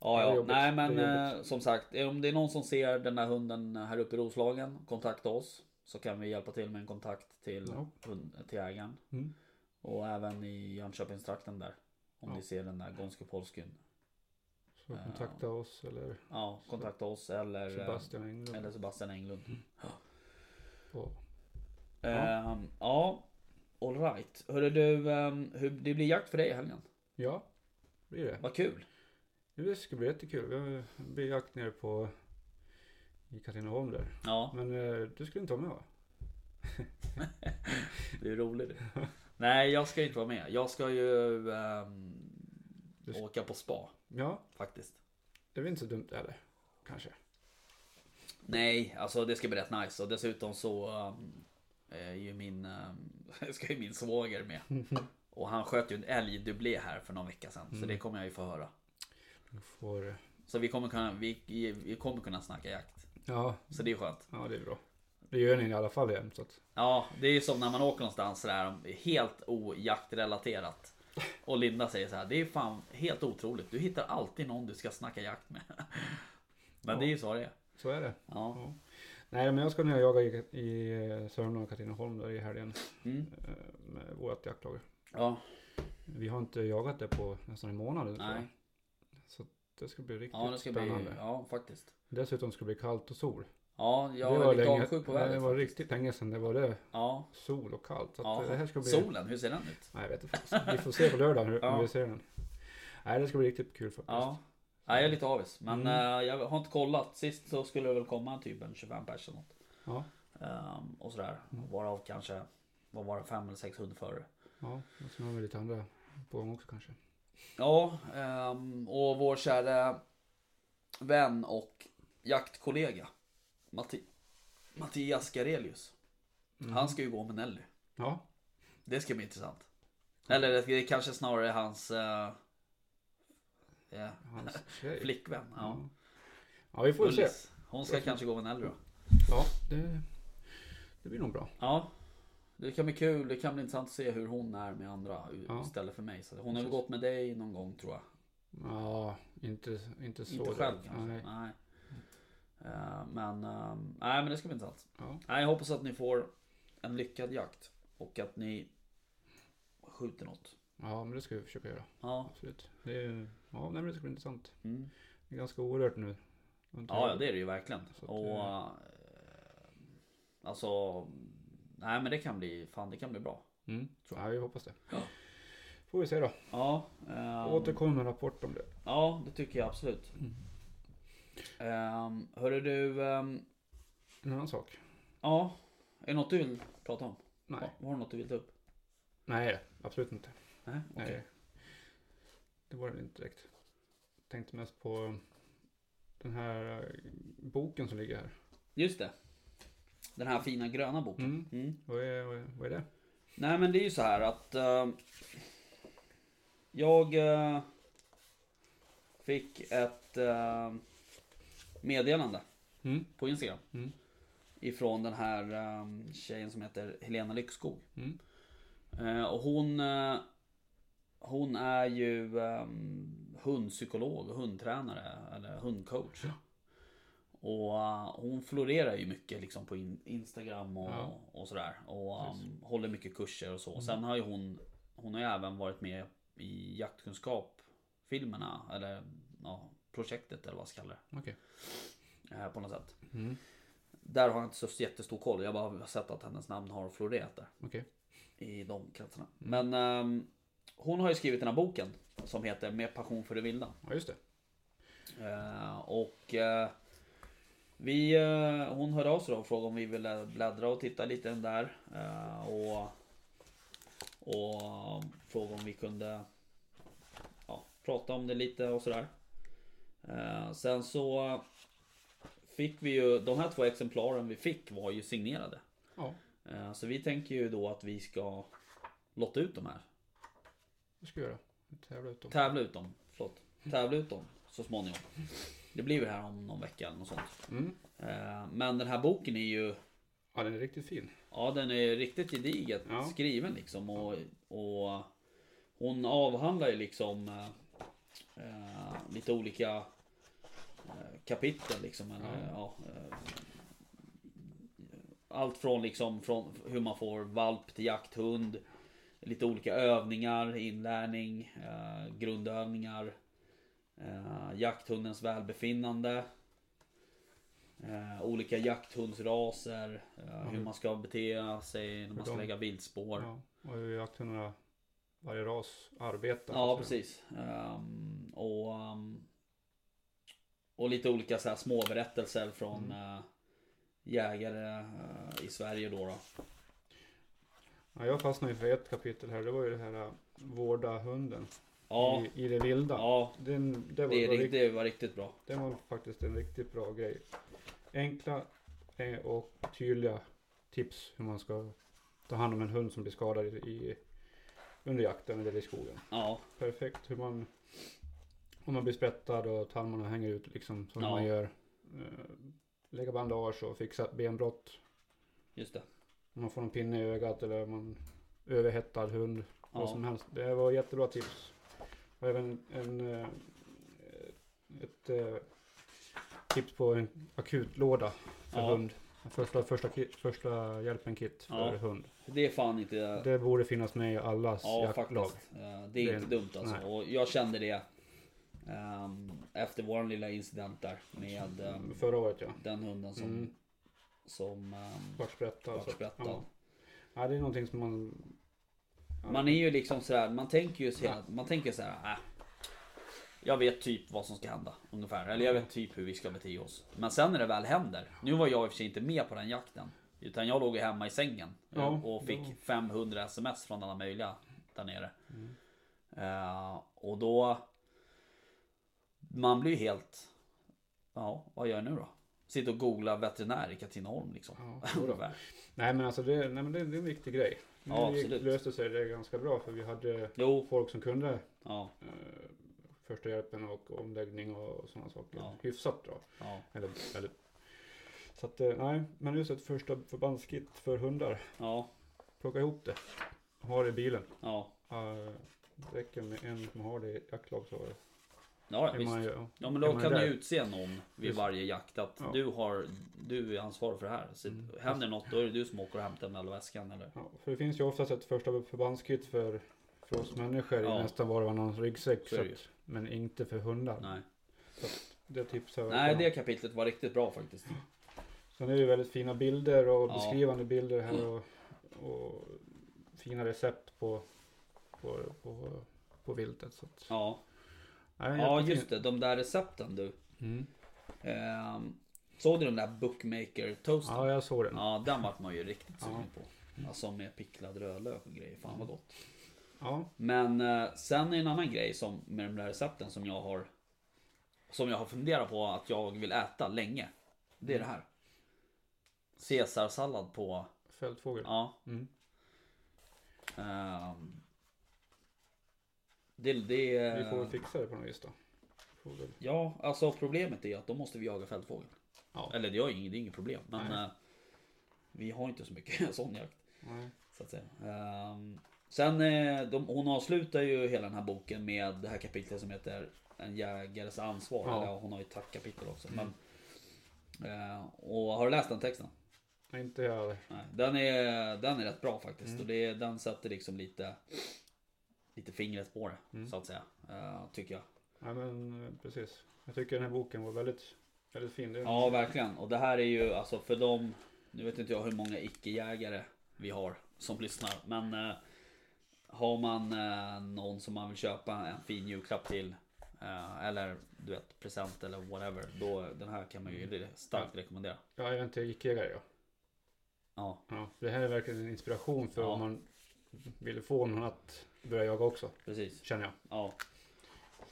Speaker 1: Ja,
Speaker 2: Det är
Speaker 1: ja.
Speaker 2: jobbigt.
Speaker 1: Nej, men
Speaker 2: Det är jobbigt.
Speaker 1: eh, som sagt. Om det är någon som ser den här hunden här uppe i Roslagen, kontakta oss. Så kan vi hjälpa till med en kontakt till,
Speaker 2: Ja.
Speaker 1: hund, till ägaren.
Speaker 2: Mm.
Speaker 1: Och även i Jönköpingstrakten där. Om
Speaker 2: Ja.
Speaker 1: ni ser den där Gonske Polskyn.
Speaker 2: Så kontakta oss eller
Speaker 1: Ja, kontakta oss eller
Speaker 2: Sebastian Englund.
Speaker 1: eh, Eller Sebastian Englund.
Speaker 2: på
Speaker 1: Ja, um, ja alright. Hörru du, ehm, hur, det blir jakt för dig i helgen.
Speaker 2: Ja, blir det.
Speaker 1: Vad kul.
Speaker 2: Det ska bli jättekul. Vi blir jakt nere på i Katrineholm där.
Speaker 1: Ja,
Speaker 2: Men eh, du skulle inte vara med va?
Speaker 1: du är rolig du. Nej, jag ska inte vara med. Jag ska ju ehm,
Speaker 2: Du ska-
Speaker 1: åka på spa
Speaker 2: Ja,
Speaker 1: faktiskt.
Speaker 2: det är väl inte så dumt heller. Kanske.
Speaker 1: Nej, alltså det ska bli rätt nice och dessutom så ehm, är ju min, ehm, ska ju min svåger med. Och han sköt ju en älgdubblé här för någon vecka sedan. Så det kommer jag ju få höra.
Speaker 2: Du får... eh,
Speaker 1: Så vi kommer kunna, vi, vi kommer kunna snacka jakt.
Speaker 2: Ja,
Speaker 1: Så det är skönt.
Speaker 2: ja, det är bra. Det gör ni i alla fall jämt. så att-
Speaker 1: Ja, det är ju som när man åker någonstans sådär helt ojaktrelaterat. Och Linda säger så här, det är fan helt otroligt. Du hittar alltid någon du ska snacka jakt med. Men det är ju så det är.
Speaker 2: Så är det.
Speaker 1: Ja.
Speaker 2: Ja. Nej, men jag ska ner och jaga i, i eh, Sörmland och Katrineholm där i helgen.
Speaker 1: Mm.
Speaker 2: eh, Med vårt jaktlag.
Speaker 1: Ja,
Speaker 2: Vi har inte jagat det på nästan en månad. tror jag.
Speaker 1: nej.
Speaker 2: Så det ska bli riktigt
Speaker 1: Ja, det ska
Speaker 2: spännande.
Speaker 1: bli, ja faktiskt.
Speaker 2: Dessutom ska det bli kallt och sol.
Speaker 1: Ja, jag
Speaker 2: det
Speaker 1: är
Speaker 2: var
Speaker 1: lite
Speaker 2: länge,
Speaker 1: avundsjuk på
Speaker 2: ja,
Speaker 1: vädret.
Speaker 2: Det var riktigt länge sedan det var det.
Speaker 1: Ja,
Speaker 2: Sol och kallt. Så
Speaker 1: ja.
Speaker 2: att det här ska bli...
Speaker 1: Solen, hur ser den ut?
Speaker 2: Nej, jag vet inte. faktiskt. Vi får se på lördag hur,
Speaker 1: Ja.
Speaker 2: hur vi ser den. Nej, det ska bli riktigt kul faktiskt.
Speaker 1: Ja. Nej, jag är lite avis. Men
Speaker 2: Mm.
Speaker 1: eh, jag har inte kollat. Sist så skulle det väl komma typ en 25 pers eller något.
Speaker 2: Ja.
Speaker 1: Ehm, och sådär.
Speaker 2: Mm.
Speaker 1: Varav kanske, vad var det, fem eller sex hundförare.
Speaker 2: ja. Och sen har vi lite andra på gång också kanske.
Speaker 1: Ja, ehm, och vår kära vän och jaktkollega Matti, Mattias Garelius. Han ska ju gå med Nelly.
Speaker 2: Mm. Ja.
Speaker 1: Det ska bli intressant. Eller det det är kanske snarare hans eh, eh,
Speaker 2: Hans tjej. Mm.
Speaker 1: flickvän. Ja.
Speaker 2: Ja, vi får se.
Speaker 1: Ullis. Hon ska kanske gå med Nelly då.
Speaker 2: Ja, det, det blir nog bra.
Speaker 1: Ja. Det kan bli kul, det kan bli intressant att se hur hon är med andra u-
Speaker 2: Ja.
Speaker 1: istället för mig. Så hon har väl
Speaker 2: Precis.
Speaker 1: gått med dig någon gång tror jag.
Speaker 2: Ja, inte, inte så.
Speaker 1: Inte
Speaker 2: direkt.
Speaker 1: själv kanske. Nej.
Speaker 2: Nej.
Speaker 1: Eh, men, ehm, nej men det ska bli intressant.
Speaker 2: Ja.
Speaker 1: Nej, jag hoppas att ni får en lyckad jakt. Och att ni skjuter något.
Speaker 2: ja, men det ska vi försöka göra.
Speaker 1: Ja,
Speaker 2: Absolut. Det, är- ja, nej, men det ska bli intressant.
Speaker 1: mm.
Speaker 2: Det är ganska orört nu.
Speaker 1: ja, ja det är det ju verkligen.
Speaker 2: Så att,
Speaker 1: och,
Speaker 2: eh,
Speaker 1: eh, alltså, nej men det kan bli, fan det kan bli bra.
Speaker 2: Mm.
Speaker 1: Tror
Speaker 2: Ja, vi hoppas det.
Speaker 1: Ja.
Speaker 2: Får vi se då.
Speaker 1: Ja, ehm,
Speaker 2: Återkom Mm. med en rapport om det.
Speaker 1: ja det tycker jag absolut. Um, hörru du, ehm,
Speaker 2: En annan sak.
Speaker 1: ja, är det något du vill prata om?
Speaker 2: Nej,
Speaker 1: Var det något du vill ta upp?
Speaker 2: nej absolut inte.
Speaker 1: Nej, okej.
Speaker 2: Nej. Det var det inte direkt. Tänkte mest på den här eh, boken som ligger här.
Speaker 1: Just det. Den här fina gröna boken.
Speaker 2: Mm.
Speaker 1: Mm.
Speaker 2: Vad, är, vad, är, vad är det?
Speaker 1: Nej men det är ju så här att eh, Jag eh, Fick ett eh, meddelande
Speaker 2: Mm.
Speaker 1: på Instagram.
Speaker 2: Mm.
Speaker 1: Ifrån den här ehm, tjejen som heter Helena Lyckskog.
Speaker 2: Mm.
Speaker 1: Eh, och hon, eh, hon är ju ehm, hundpsykolog och hundtränare eller hundcoach.
Speaker 2: Ja.
Speaker 1: Och eh, hon florerar ju mycket liksom på in- Instagram och,
Speaker 2: Ja.
Speaker 1: och sådär. Och ehm,
Speaker 2: Precis. Mm.
Speaker 1: håller mycket kurser och så. Sen har ju hon, hon har ju även varit med i jaktkunskap filmerna eller ja, projektet eller vad man ska kalla det
Speaker 2: Okej.
Speaker 1: eh, på något sätt.
Speaker 2: Mm.
Speaker 1: Där har jag inte så jättestor koll. Jag bara har sett att hennes namn har florerat där
Speaker 2: Okej.
Speaker 1: i de kretsarna. Men ehm, hon har ju skrivit den här boken som heter Med passion för det vilda.
Speaker 2: Ja, just det.
Speaker 1: Eh, och eh, vi, eh, hon hörde av sig då och frågade om vi ville bläddra och titta lite i den där. Eh, och, och frågade om vi kunde ja, prata om det lite och sådär. Eh, sen så fick vi ju, de här två exemplaren vi fick var ju signerade.
Speaker 2: Ja,
Speaker 1: Eh, så vi tänker ju då att vi ska lotta ut de här.
Speaker 2: det ska jag göra. Tävla ut dem.
Speaker 1: Tävla ut dem, förlåt. Tävla ut dem så småningom. Det blir ju här om någon vecka eller något sånt.
Speaker 2: Mm.
Speaker 1: Eh, Men den här boken är ju,
Speaker 2: Ja, den är riktigt fin.
Speaker 1: ja den är riktigt gediget
Speaker 2: Ja.
Speaker 1: skriven liksom. Och, och hon avhandlar ju liksom eh, eh, lite olika eh, kapitel liksom. Eller, ja. eh, allt från liksom från hur man får valp till jakthund. Lite olika övningar, inlärning, eh, grundövningar. Eh, jakthundens välbefinnande. Eh, olika jakthundsraser. Eh, hur man ska bete sig när man ska
Speaker 2: de-
Speaker 1: lägga viltspår.
Speaker 2: Mm. Ja. Och hur jakthundarna, varje ras arbetar.
Speaker 1: Ja,
Speaker 2: så-
Speaker 1: precis. Ehm, och, ehm, och lite olika så här små berättelser från
Speaker 2: Mm.
Speaker 1: eh, jägare eh, i Sverige då. då.
Speaker 2: Ja, jag fastnade ju för ett kapitel här. Det var ju det här äh, vårda hunden
Speaker 1: Ja,
Speaker 2: i, i det vilda.
Speaker 1: ja
Speaker 2: Den, det var,
Speaker 1: det, är
Speaker 2: var
Speaker 1: rikt,
Speaker 2: rikt-
Speaker 1: det var riktigt bra.
Speaker 2: den var faktiskt en riktigt bra grej. Enkla eh, och tydliga tips hur man ska ta hand om en hund som blir skadad i, i, under jakten eller i skogen.
Speaker 1: Ja,
Speaker 2: Perfekt hur man om man blir sprättad och tarmarna hänger ut liksom som
Speaker 1: Ja.
Speaker 2: man gör. Eh, Lägga bandage och fixa benbrott.
Speaker 1: just det.
Speaker 2: Om man får en pinne i ögat eller om man överhettad hund. Vad som
Speaker 1: Ja,
Speaker 2: helst. Det var jättebra tips. Och även en, eh, ett eh, tips på en akutlåda för
Speaker 1: Ja.
Speaker 2: hund. En Första, första, ki- första hjälpen-kit för
Speaker 1: Ja.
Speaker 2: hund.
Speaker 1: det är fan inte...
Speaker 2: Det borde finnas med i allas
Speaker 1: Ja,
Speaker 2: jaktlag.
Speaker 1: faktiskt. Eh, Det är
Speaker 2: Det-
Speaker 1: inte dumt alltså.
Speaker 2: nej.
Speaker 1: Och jag kände det ehm, efter våran lilla incident där med ehm,
Speaker 2: Mm, Förra året ja.
Speaker 1: den hunden som,
Speaker 2: Mm.
Speaker 1: som ehm,
Speaker 2: Vart sprättad.
Speaker 1: vart
Speaker 2: alltså.
Speaker 1: sprättad.
Speaker 2: Ja. Ja, det är någonting som man... Ja.
Speaker 1: Man är ju liksom sådär, man tänker ju såhär, man tänker såhär, äh, Jag vet typ vad som ska hända ungefär, eller jag vet typ hur vi ska bete oss. Men sen när det väl händer, nu var jag i och för sig inte med på den jakten. Utan jag låg ju hemma i sängen eh,
Speaker 2: Ja,
Speaker 1: och
Speaker 2: det
Speaker 1: fick
Speaker 2: var-
Speaker 1: 500 sms från alla möjliga där nere.
Speaker 2: Mm.
Speaker 1: Eh, och då... Man blir ju helt... Ja, vad gör jag nu då? Sitter och googlar veterinär i Katrineholm liksom.
Speaker 2: Ja, jo då.
Speaker 1: Ungefär.
Speaker 2: Nej men alltså det, nej, men det, det är en viktig grej. Nu
Speaker 1: Ja,
Speaker 2: gick-
Speaker 1: absolut.
Speaker 2: löste sig det ganska bra för vi hade
Speaker 1: jo,
Speaker 2: folk som kunde
Speaker 1: ja,
Speaker 2: eh, första hjälpen och omläggning och sådana saker.
Speaker 1: Ja.
Speaker 2: Hyfsat bra.
Speaker 1: ja,
Speaker 2: Eller, eller. Så att, eh, nej, men just ett första förbandskit för hundar.
Speaker 1: ja,
Speaker 2: Plocka ihop det. Ha det i bilen.
Speaker 1: ja.
Speaker 2: Uh, räcker med en som har det i jaktlag så är
Speaker 1: Ja, visst.
Speaker 2: man ju... Ja,
Speaker 1: Ja men då
Speaker 2: är man
Speaker 1: kan du
Speaker 2: där.
Speaker 1: utse någon vid
Speaker 2: Just.
Speaker 1: varje jakt att
Speaker 2: Ja. Mm.
Speaker 1: du, har, du är ansvarig för det här. Så händer något då är det du som åker och hämtar den där väskan eller?
Speaker 2: Ja, för det finns ju oftast ett första förbandskit för, för oss människor
Speaker 1: Ja.
Speaker 2: i nästan var och varannan ryggsäck.
Speaker 1: Så är
Speaker 2: Så
Speaker 1: det ju.
Speaker 2: att, men inte för hundar.
Speaker 1: Nej.
Speaker 2: Det tipsar jag
Speaker 1: Nej
Speaker 2: om.
Speaker 1: det kapitlet var riktigt bra faktiskt.
Speaker 2: Sen är det ju väldigt fina bilder och
Speaker 1: Ja.
Speaker 2: beskrivande bilder här och, och fina recept på, på, på, på viltet. Så att,
Speaker 1: Ja,
Speaker 2: Nej,
Speaker 1: ja
Speaker 2: jättefin.
Speaker 1: just det. De där recepten du.
Speaker 2: Mm.
Speaker 1: Ehm, såg du den där bookmaker toasten?
Speaker 2: Ja, jag såg den.
Speaker 1: Ja den vart man ju riktigt
Speaker 2: Ja.
Speaker 1: sugen på. Alltså med picklad rödlök och grejer. Fan vad gott.
Speaker 2: Ja,
Speaker 1: Men eh, sen är en annan grej som, med de där recepten som jag har Som jag har funderat på att jag vill äta länge Det är det här Caesarsallad på
Speaker 2: fältfågel.
Speaker 1: Ja
Speaker 2: Mm.
Speaker 1: ehm, det, det, Eh.
Speaker 2: Vi får väl fixa det på något vis då. Får väl-
Speaker 1: Ja, alltså problemet är att då måste vi jaga fältfågel.
Speaker 2: Ja.
Speaker 1: Eller det är ju inget, det är inget problem. Men
Speaker 2: Nej.
Speaker 1: eh, vi har inte så mycket sån jakt.
Speaker 2: Nej.
Speaker 1: Så att säga. Ehm, sen eh, de, hon avslutar ju hela den här boken med det här kapitlet som heter En jägares ansvar.
Speaker 2: Ja.
Speaker 1: Eller, ja, hon har ju ett tackkapitel också. Men, eh, och har du läst den texten?
Speaker 2: Nej, Inte jag heller.
Speaker 1: Nej, den, är, den är rätt bra faktiskt. Och det, den sätter liksom lite, lite fingret på det. Så att säga. Eh, tycker jag.
Speaker 2: Nej men eh, precis. Jag tycker den här boken var väldigt, väldigt fin. Det är
Speaker 1: Ja, verkligen. Och det här är ju alltså för dem. Nu vet inte jag hur många icke-jägare vi har som lyssnar, men eh, har man eh, någon som man vill köpa en fin julklapp till eh, eller du vet present eller whatever. Då den här kan man ju starkt rekommendera.
Speaker 2: Ja, jag är inte gickjägare ja.
Speaker 1: Ja,
Speaker 2: ja. Det här är verkligen en inspiration för
Speaker 1: Ja.
Speaker 2: om man vill få någon att börja jaga också.
Speaker 1: precis.
Speaker 2: Känner jag.
Speaker 1: Ja,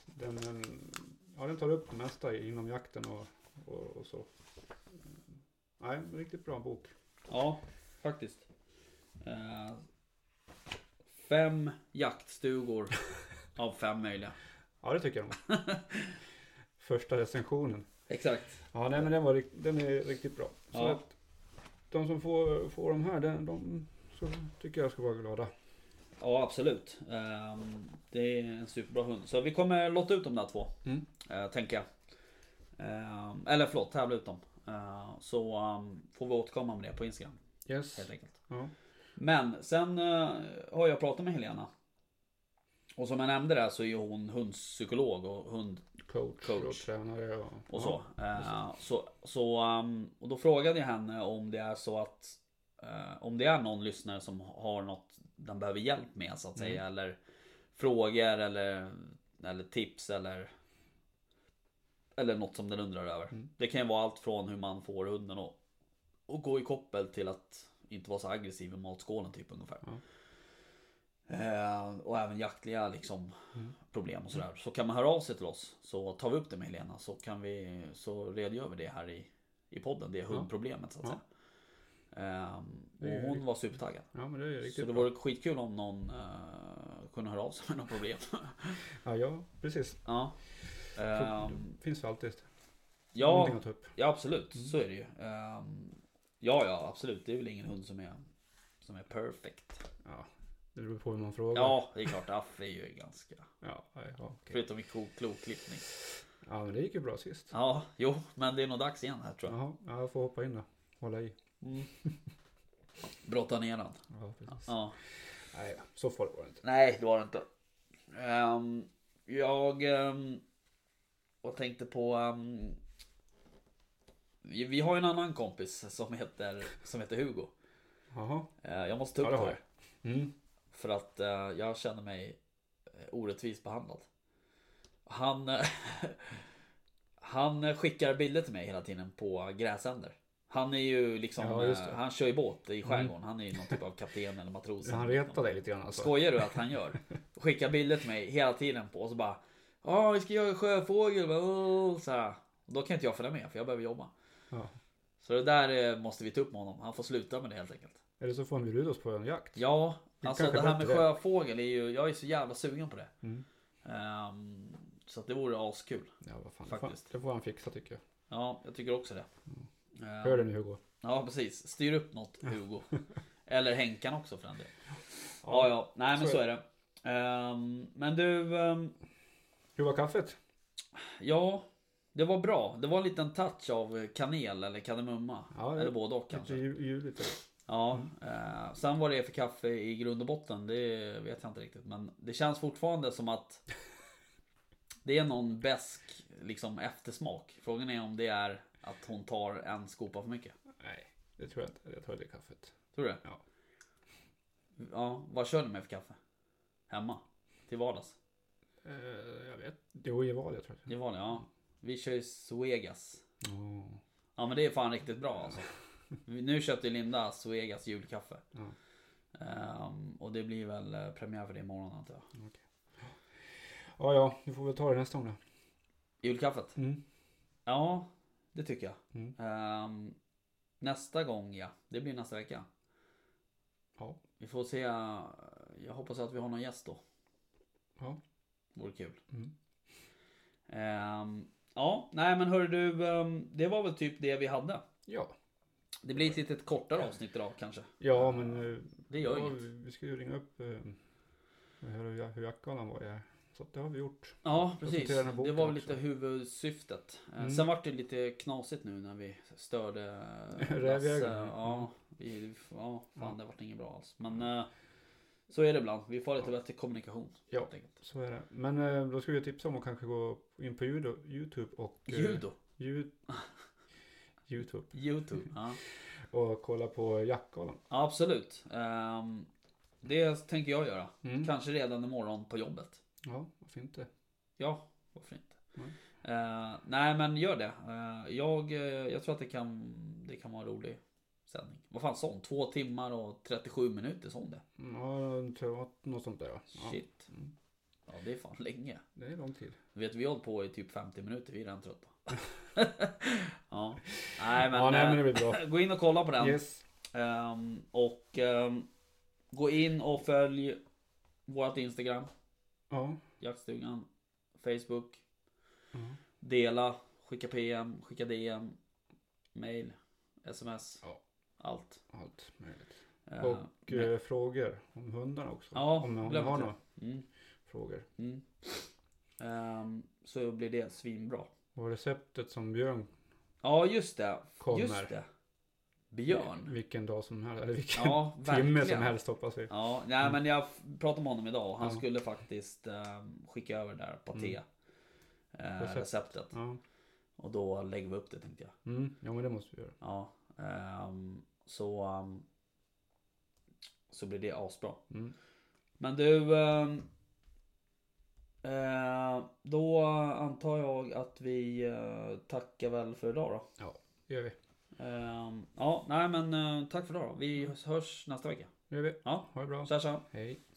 Speaker 2: Den, eh, ja, den tar upp det mesta inom jakten och, och, och så. Nej, en riktigt bra bok.
Speaker 1: ja faktiskt. Eh, fem jaktstugor av fem möjliga.
Speaker 2: Ja, det tycker jag nog. Första recensionen.
Speaker 1: Exakt.
Speaker 2: Ja, nej, men den, var, rikt- den är riktigt bra. Så
Speaker 1: Ja.
Speaker 2: att de som får, får de här, den, de så tycker jag ska vara glada.
Speaker 1: Ja absolut. Ehm, det är en superbra hund. Så vi kommer lotta ut de där två.
Speaker 2: Mm.
Speaker 1: eh, tänker jag. Ehm, eller förlåt, tävla ut dem. Eh, så ehm, får vi återkomma med det på Instagram
Speaker 2: Yes.
Speaker 1: helt enkelt.
Speaker 2: Ja.
Speaker 1: Men sen eh, har jag pratat med Helena. Och som jag nämnde där så är ju hon hundpsykolog och hund
Speaker 2: Coach,
Speaker 1: Coach.
Speaker 2: och tränare och,
Speaker 1: och så. Eh, så, så ehm, och då frågade jag henne om det är så att eh, om det är någon lyssnare som har något den behöver hjälp med så att säga. Eller frågor eller, eller tips eller eller något som den undrar över. Det kan ju vara allt från hur man får hunden att, att gå i koppel till att inte vara så aggressiv i matskålen typ ungefär. Eh, och även jaktliga liksom,
Speaker 2: Mm.
Speaker 1: problem och sådär. Så kan man höra av sig till oss så tar vi upp det med Helena så, kan vi, så redogör vi det här i, i podden. Det är hundproblemet så att
Speaker 2: Ja.
Speaker 1: säga. Eh,
Speaker 2: är ju
Speaker 1: och hon var supertaggad.
Speaker 2: Ja, men det är
Speaker 1: Så
Speaker 2: riktigt
Speaker 1: det
Speaker 2: bra.
Speaker 1: vore skitkul om någon eh, kunde höra av sig med något problem.
Speaker 2: Ja, ja, precis.
Speaker 1: ja. Eh,
Speaker 2: Finns det alltid
Speaker 1: ja,
Speaker 2: någonting att ta upp.
Speaker 1: Ja absolut,
Speaker 2: Mm.
Speaker 1: så är det ju. Ehm, ja ja absolut, det är väl ingen hund som är, som är perfect.
Speaker 2: Ja, det beror på hur man frågar.
Speaker 1: Ja det är klart, Aff är ju ganska,
Speaker 2: Ja, nej, ja, okej.
Speaker 1: förutom i ko- kloklippning.
Speaker 2: ja, men det gick ju bra sist.
Speaker 1: Ja, jo men det är nog dags igen här tror jag.
Speaker 2: Jaha, ja, jag får hoppa in då. Hålla i.
Speaker 1: Brotta ner den.
Speaker 2: Ja, precis.
Speaker 1: Ja.
Speaker 2: Nej, så farligt var det inte.
Speaker 1: Nej det var det inte. Ehm, jag ehm, och tänkte på ehm, vi, vi har ju en annan kompis som heter, som heter Hugo.
Speaker 2: Jaha.
Speaker 1: Eh, jag måste ta upp
Speaker 2: Ja, det
Speaker 1: det
Speaker 2: har
Speaker 1: här.
Speaker 2: Mm.
Speaker 1: För att eh, jag känner mig eh, orättvist behandlad. Han, eh, han eh, skickar bilder till mig hela tiden på gräsänder. Han är ju liksom,
Speaker 2: Ja, just det. Mm.
Speaker 1: eh, han kör ju båt i skärgården. Han är ju någon typ av kapten eller matros.
Speaker 2: Han retar dig lite grann alltså.
Speaker 1: Skojar du att han gör? Skickar bilder till mig hela tiden på och så bara Ja vi ska jaga sjöfågel. va? Åh", Så här. Då kan inte jag följa med för jag behöver jobba.
Speaker 2: Ja.
Speaker 1: Så det där eh, måste vi ta upp med honom. Han får sluta med det helt enkelt.
Speaker 2: Eller så får han bjuda oss på en jakt.
Speaker 1: Ja,
Speaker 2: Det
Speaker 1: alltså
Speaker 2: kanske
Speaker 1: det
Speaker 2: är
Speaker 1: här med
Speaker 2: bättre det.
Speaker 1: sjöfågel är ju, jag är så jävla sugen på det.
Speaker 2: Mm.
Speaker 1: Ehm, så att det vore askul.
Speaker 2: Ja, vad fan.
Speaker 1: Faktiskt.
Speaker 2: Faktiskt. Det får han fixa tycker jag.
Speaker 1: Ja, jag tycker också det. Ehm,
Speaker 2: Mm. Hör du nu Hugo?
Speaker 1: Ja, precis. Styr upp något Hugo. Eller Henkan också för den delen. Ja, ja. Nej, men
Speaker 2: så
Speaker 1: så är
Speaker 2: är
Speaker 1: det. Ehm, men du, ehm,
Speaker 2: Hur var kaffet?
Speaker 1: ja. Det var bra. Det var en liten touch av kanel eller kardemumma.
Speaker 2: Ja, det-
Speaker 1: eller både och
Speaker 2: Lite
Speaker 1: kanske.
Speaker 2: ju- ljuvligt.
Speaker 1: Ja, eh, sen vad det är för kaffe i grund och botten det vet jag inte riktigt. Men det känns fortfarande som att det är någon besk liksom, eftersmak. Frågan är om det är att hon tar en skopa för mycket.
Speaker 2: Nej, det tror jag inte. Jag tror det är kaffet.
Speaker 1: Tror du det?
Speaker 2: Ja.
Speaker 1: Ja, vad kör ni med för kaffe? Hemma? Till vardags?
Speaker 2: Eh, jag vet. Jo, i val jag tror jag.
Speaker 1: Till vardags, ja. Vi kör ju Suegas.
Speaker 2: Oh.
Speaker 1: Ja men det är fan riktigt bra alltså. Nu köpte Linda Suegas julkaffe.
Speaker 2: Ja.
Speaker 1: Ehm, och det blir väl eh, premiär för det imorgon antar jag.
Speaker 2: Ja, ja. Vi får väl ta det nästa gång då.
Speaker 1: Julkaffet?
Speaker 2: Mm.
Speaker 1: Ja, det tycker jag.
Speaker 2: Mm.
Speaker 1: Ehm, nästa gång ja, det blir nästa vecka.
Speaker 2: Ja.
Speaker 1: Vi får se. eh, Jag hoppas att vi har någon gäst då.
Speaker 2: Ja.
Speaker 1: Vore kul.
Speaker 2: Mm.
Speaker 1: Ehm, ja, nej men hör du, ehm, det var väl typ det vi hade.
Speaker 2: Ja.
Speaker 1: Det blir ett lite kortare avsnitt idag kanske.
Speaker 2: Ja men eh,
Speaker 1: Det gör
Speaker 2: ja,
Speaker 1: inget.
Speaker 2: vi- vi ska ju ringa upp eh, och höra hur, hur jackgalan var i det här. Så att det har vi gjort.
Speaker 1: Ja, precis.
Speaker 2: Presentera den här
Speaker 1: Det
Speaker 2: boken
Speaker 1: var väl
Speaker 2: också.
Speaker 1: lite huvudsyftet. Eh,
Speaker 2: Mm.
Speaker 1: Sen vart det lite knasigt nu när vi störde eh,
Speaker 2: Rävjägarna.
Speaker 1: Lasse. Ja, vi, ja, fan det vart inget bra alls. Men eh, så är det ibland. Vi får lite bättre kommunikation.
Speaker 2: Ja.
Speaker 1: helt enkelt.
Speaker 2: Så är det. Men eh, då ska vi tipsa om att kanske gå in på Judo- Youtube och... eh,
Speaker 1: Judo.
Speaker 2: Ju- Youtube. Mm.
Speaker 1: Youtube. Ja.
Speaker 2: Och kolla på jackgalan.
Speaker 1: Ja, absolut. Ehm, det tänker jag göra.
Speaker 2: Mm.
Speaker 1: Kanske redan imorgon på jobbet.
Speaker 2: Ja, varför inte?
Speaker 1: Ja, varför inte?
Speaker 2: Mm.
Speaker 1: Eh, nej men gör det. Eh, jag, eh, jag tror att det kan, det kan vara en rolig sändning. Vad fan sa hon? Två timmar och 37 minuter sa hon det?
Speaker 2: Mm, Ja, jag tror att något sånt där ja. ja.
Speaker 1: Shit.
Speaker 2: Mm.
Speaker 1: Ja det är fan länge.
Speaker 2: Det är lång tid.
Speaker 1: Du vet vi har hållit på i typ 50 minuter, vi är redan trötta. ja. Nej men,
Speaker 2: ja, nej men det
Speaker 1: eh,
Speaker 2: blir bra.
Speaker 1: gå in och kolla på den.
Speaker 2: Yes.
Speaker 1: Ehm, och ehm, gå in och följ vårt Instagram,
Speaker 2: Ja.
Speaker 1: jaktstugan, Facebook.
Speaker 2: Ja.
Speaker 1: Dela, skicka PM, skicka DM, mail, sms.
Speaker 2: Ja.
Speaker 1: Allt.
Speaker 2: Allt möjligt.
Speaker 1: Eh,
Speaker 2: Och
Speaker 1: men-
Speaker 2: eh, frågor om hundarna också.
Speaker 1: Ja,
Speaker 2: om om ni
Speaker 1: glöm
Speaker 2: har
Speaker 1: inte
Speaker 2: några
Speaker 1: mm,
Speaker 2: frågor.
Speaker 1: mm. Ehm, så blir det svinbra.
Speaker 2: Och receptet som Björn
Speaker 1: Ja just det.
Speaker 2: Kommer.
Speaker 1: Just det. Björn.
Speaker 2: vilken dag som helst, eller vilken
Speaker 1: Ja
Speaker 2: timme Mm. som
Speaker 1: verkligen.
Speaker 2: helst hoppas vi.
Speaker 1: Ja, nej men jag f- pratade med honom idag och han
Speaker 2: Ja.
Speaker 1: skulle faktiskt ehm, skicka över det där paté eh,
Speaker 2: Recept.
Speaker 1: receptet.
Speaker 2: Ja.
Speaker 1: Och då lägger vi upp det tänkte jag.
Speaker 2: Mm. ja, men det måste vi göra.
Speaker 1: Ja, ehm, så, ehm, så blir det asbra.
Speaker 2: Mm.
Speaker 1: Men du, ehm, eh, då antar jag att vi eh, tackar väl för idag då.
Speaker 2: Ja, det gör vi.
Speaker 1: Ehm, ja, nej men eh, tack för idag då. Vi hörs nästa vecka.
Speaker 2: Det gör vi.
Speaker 1: Ja.
Speaker 2: Ha det bra.
Speaker 1: Tja tja!
Speaker 2: Hej.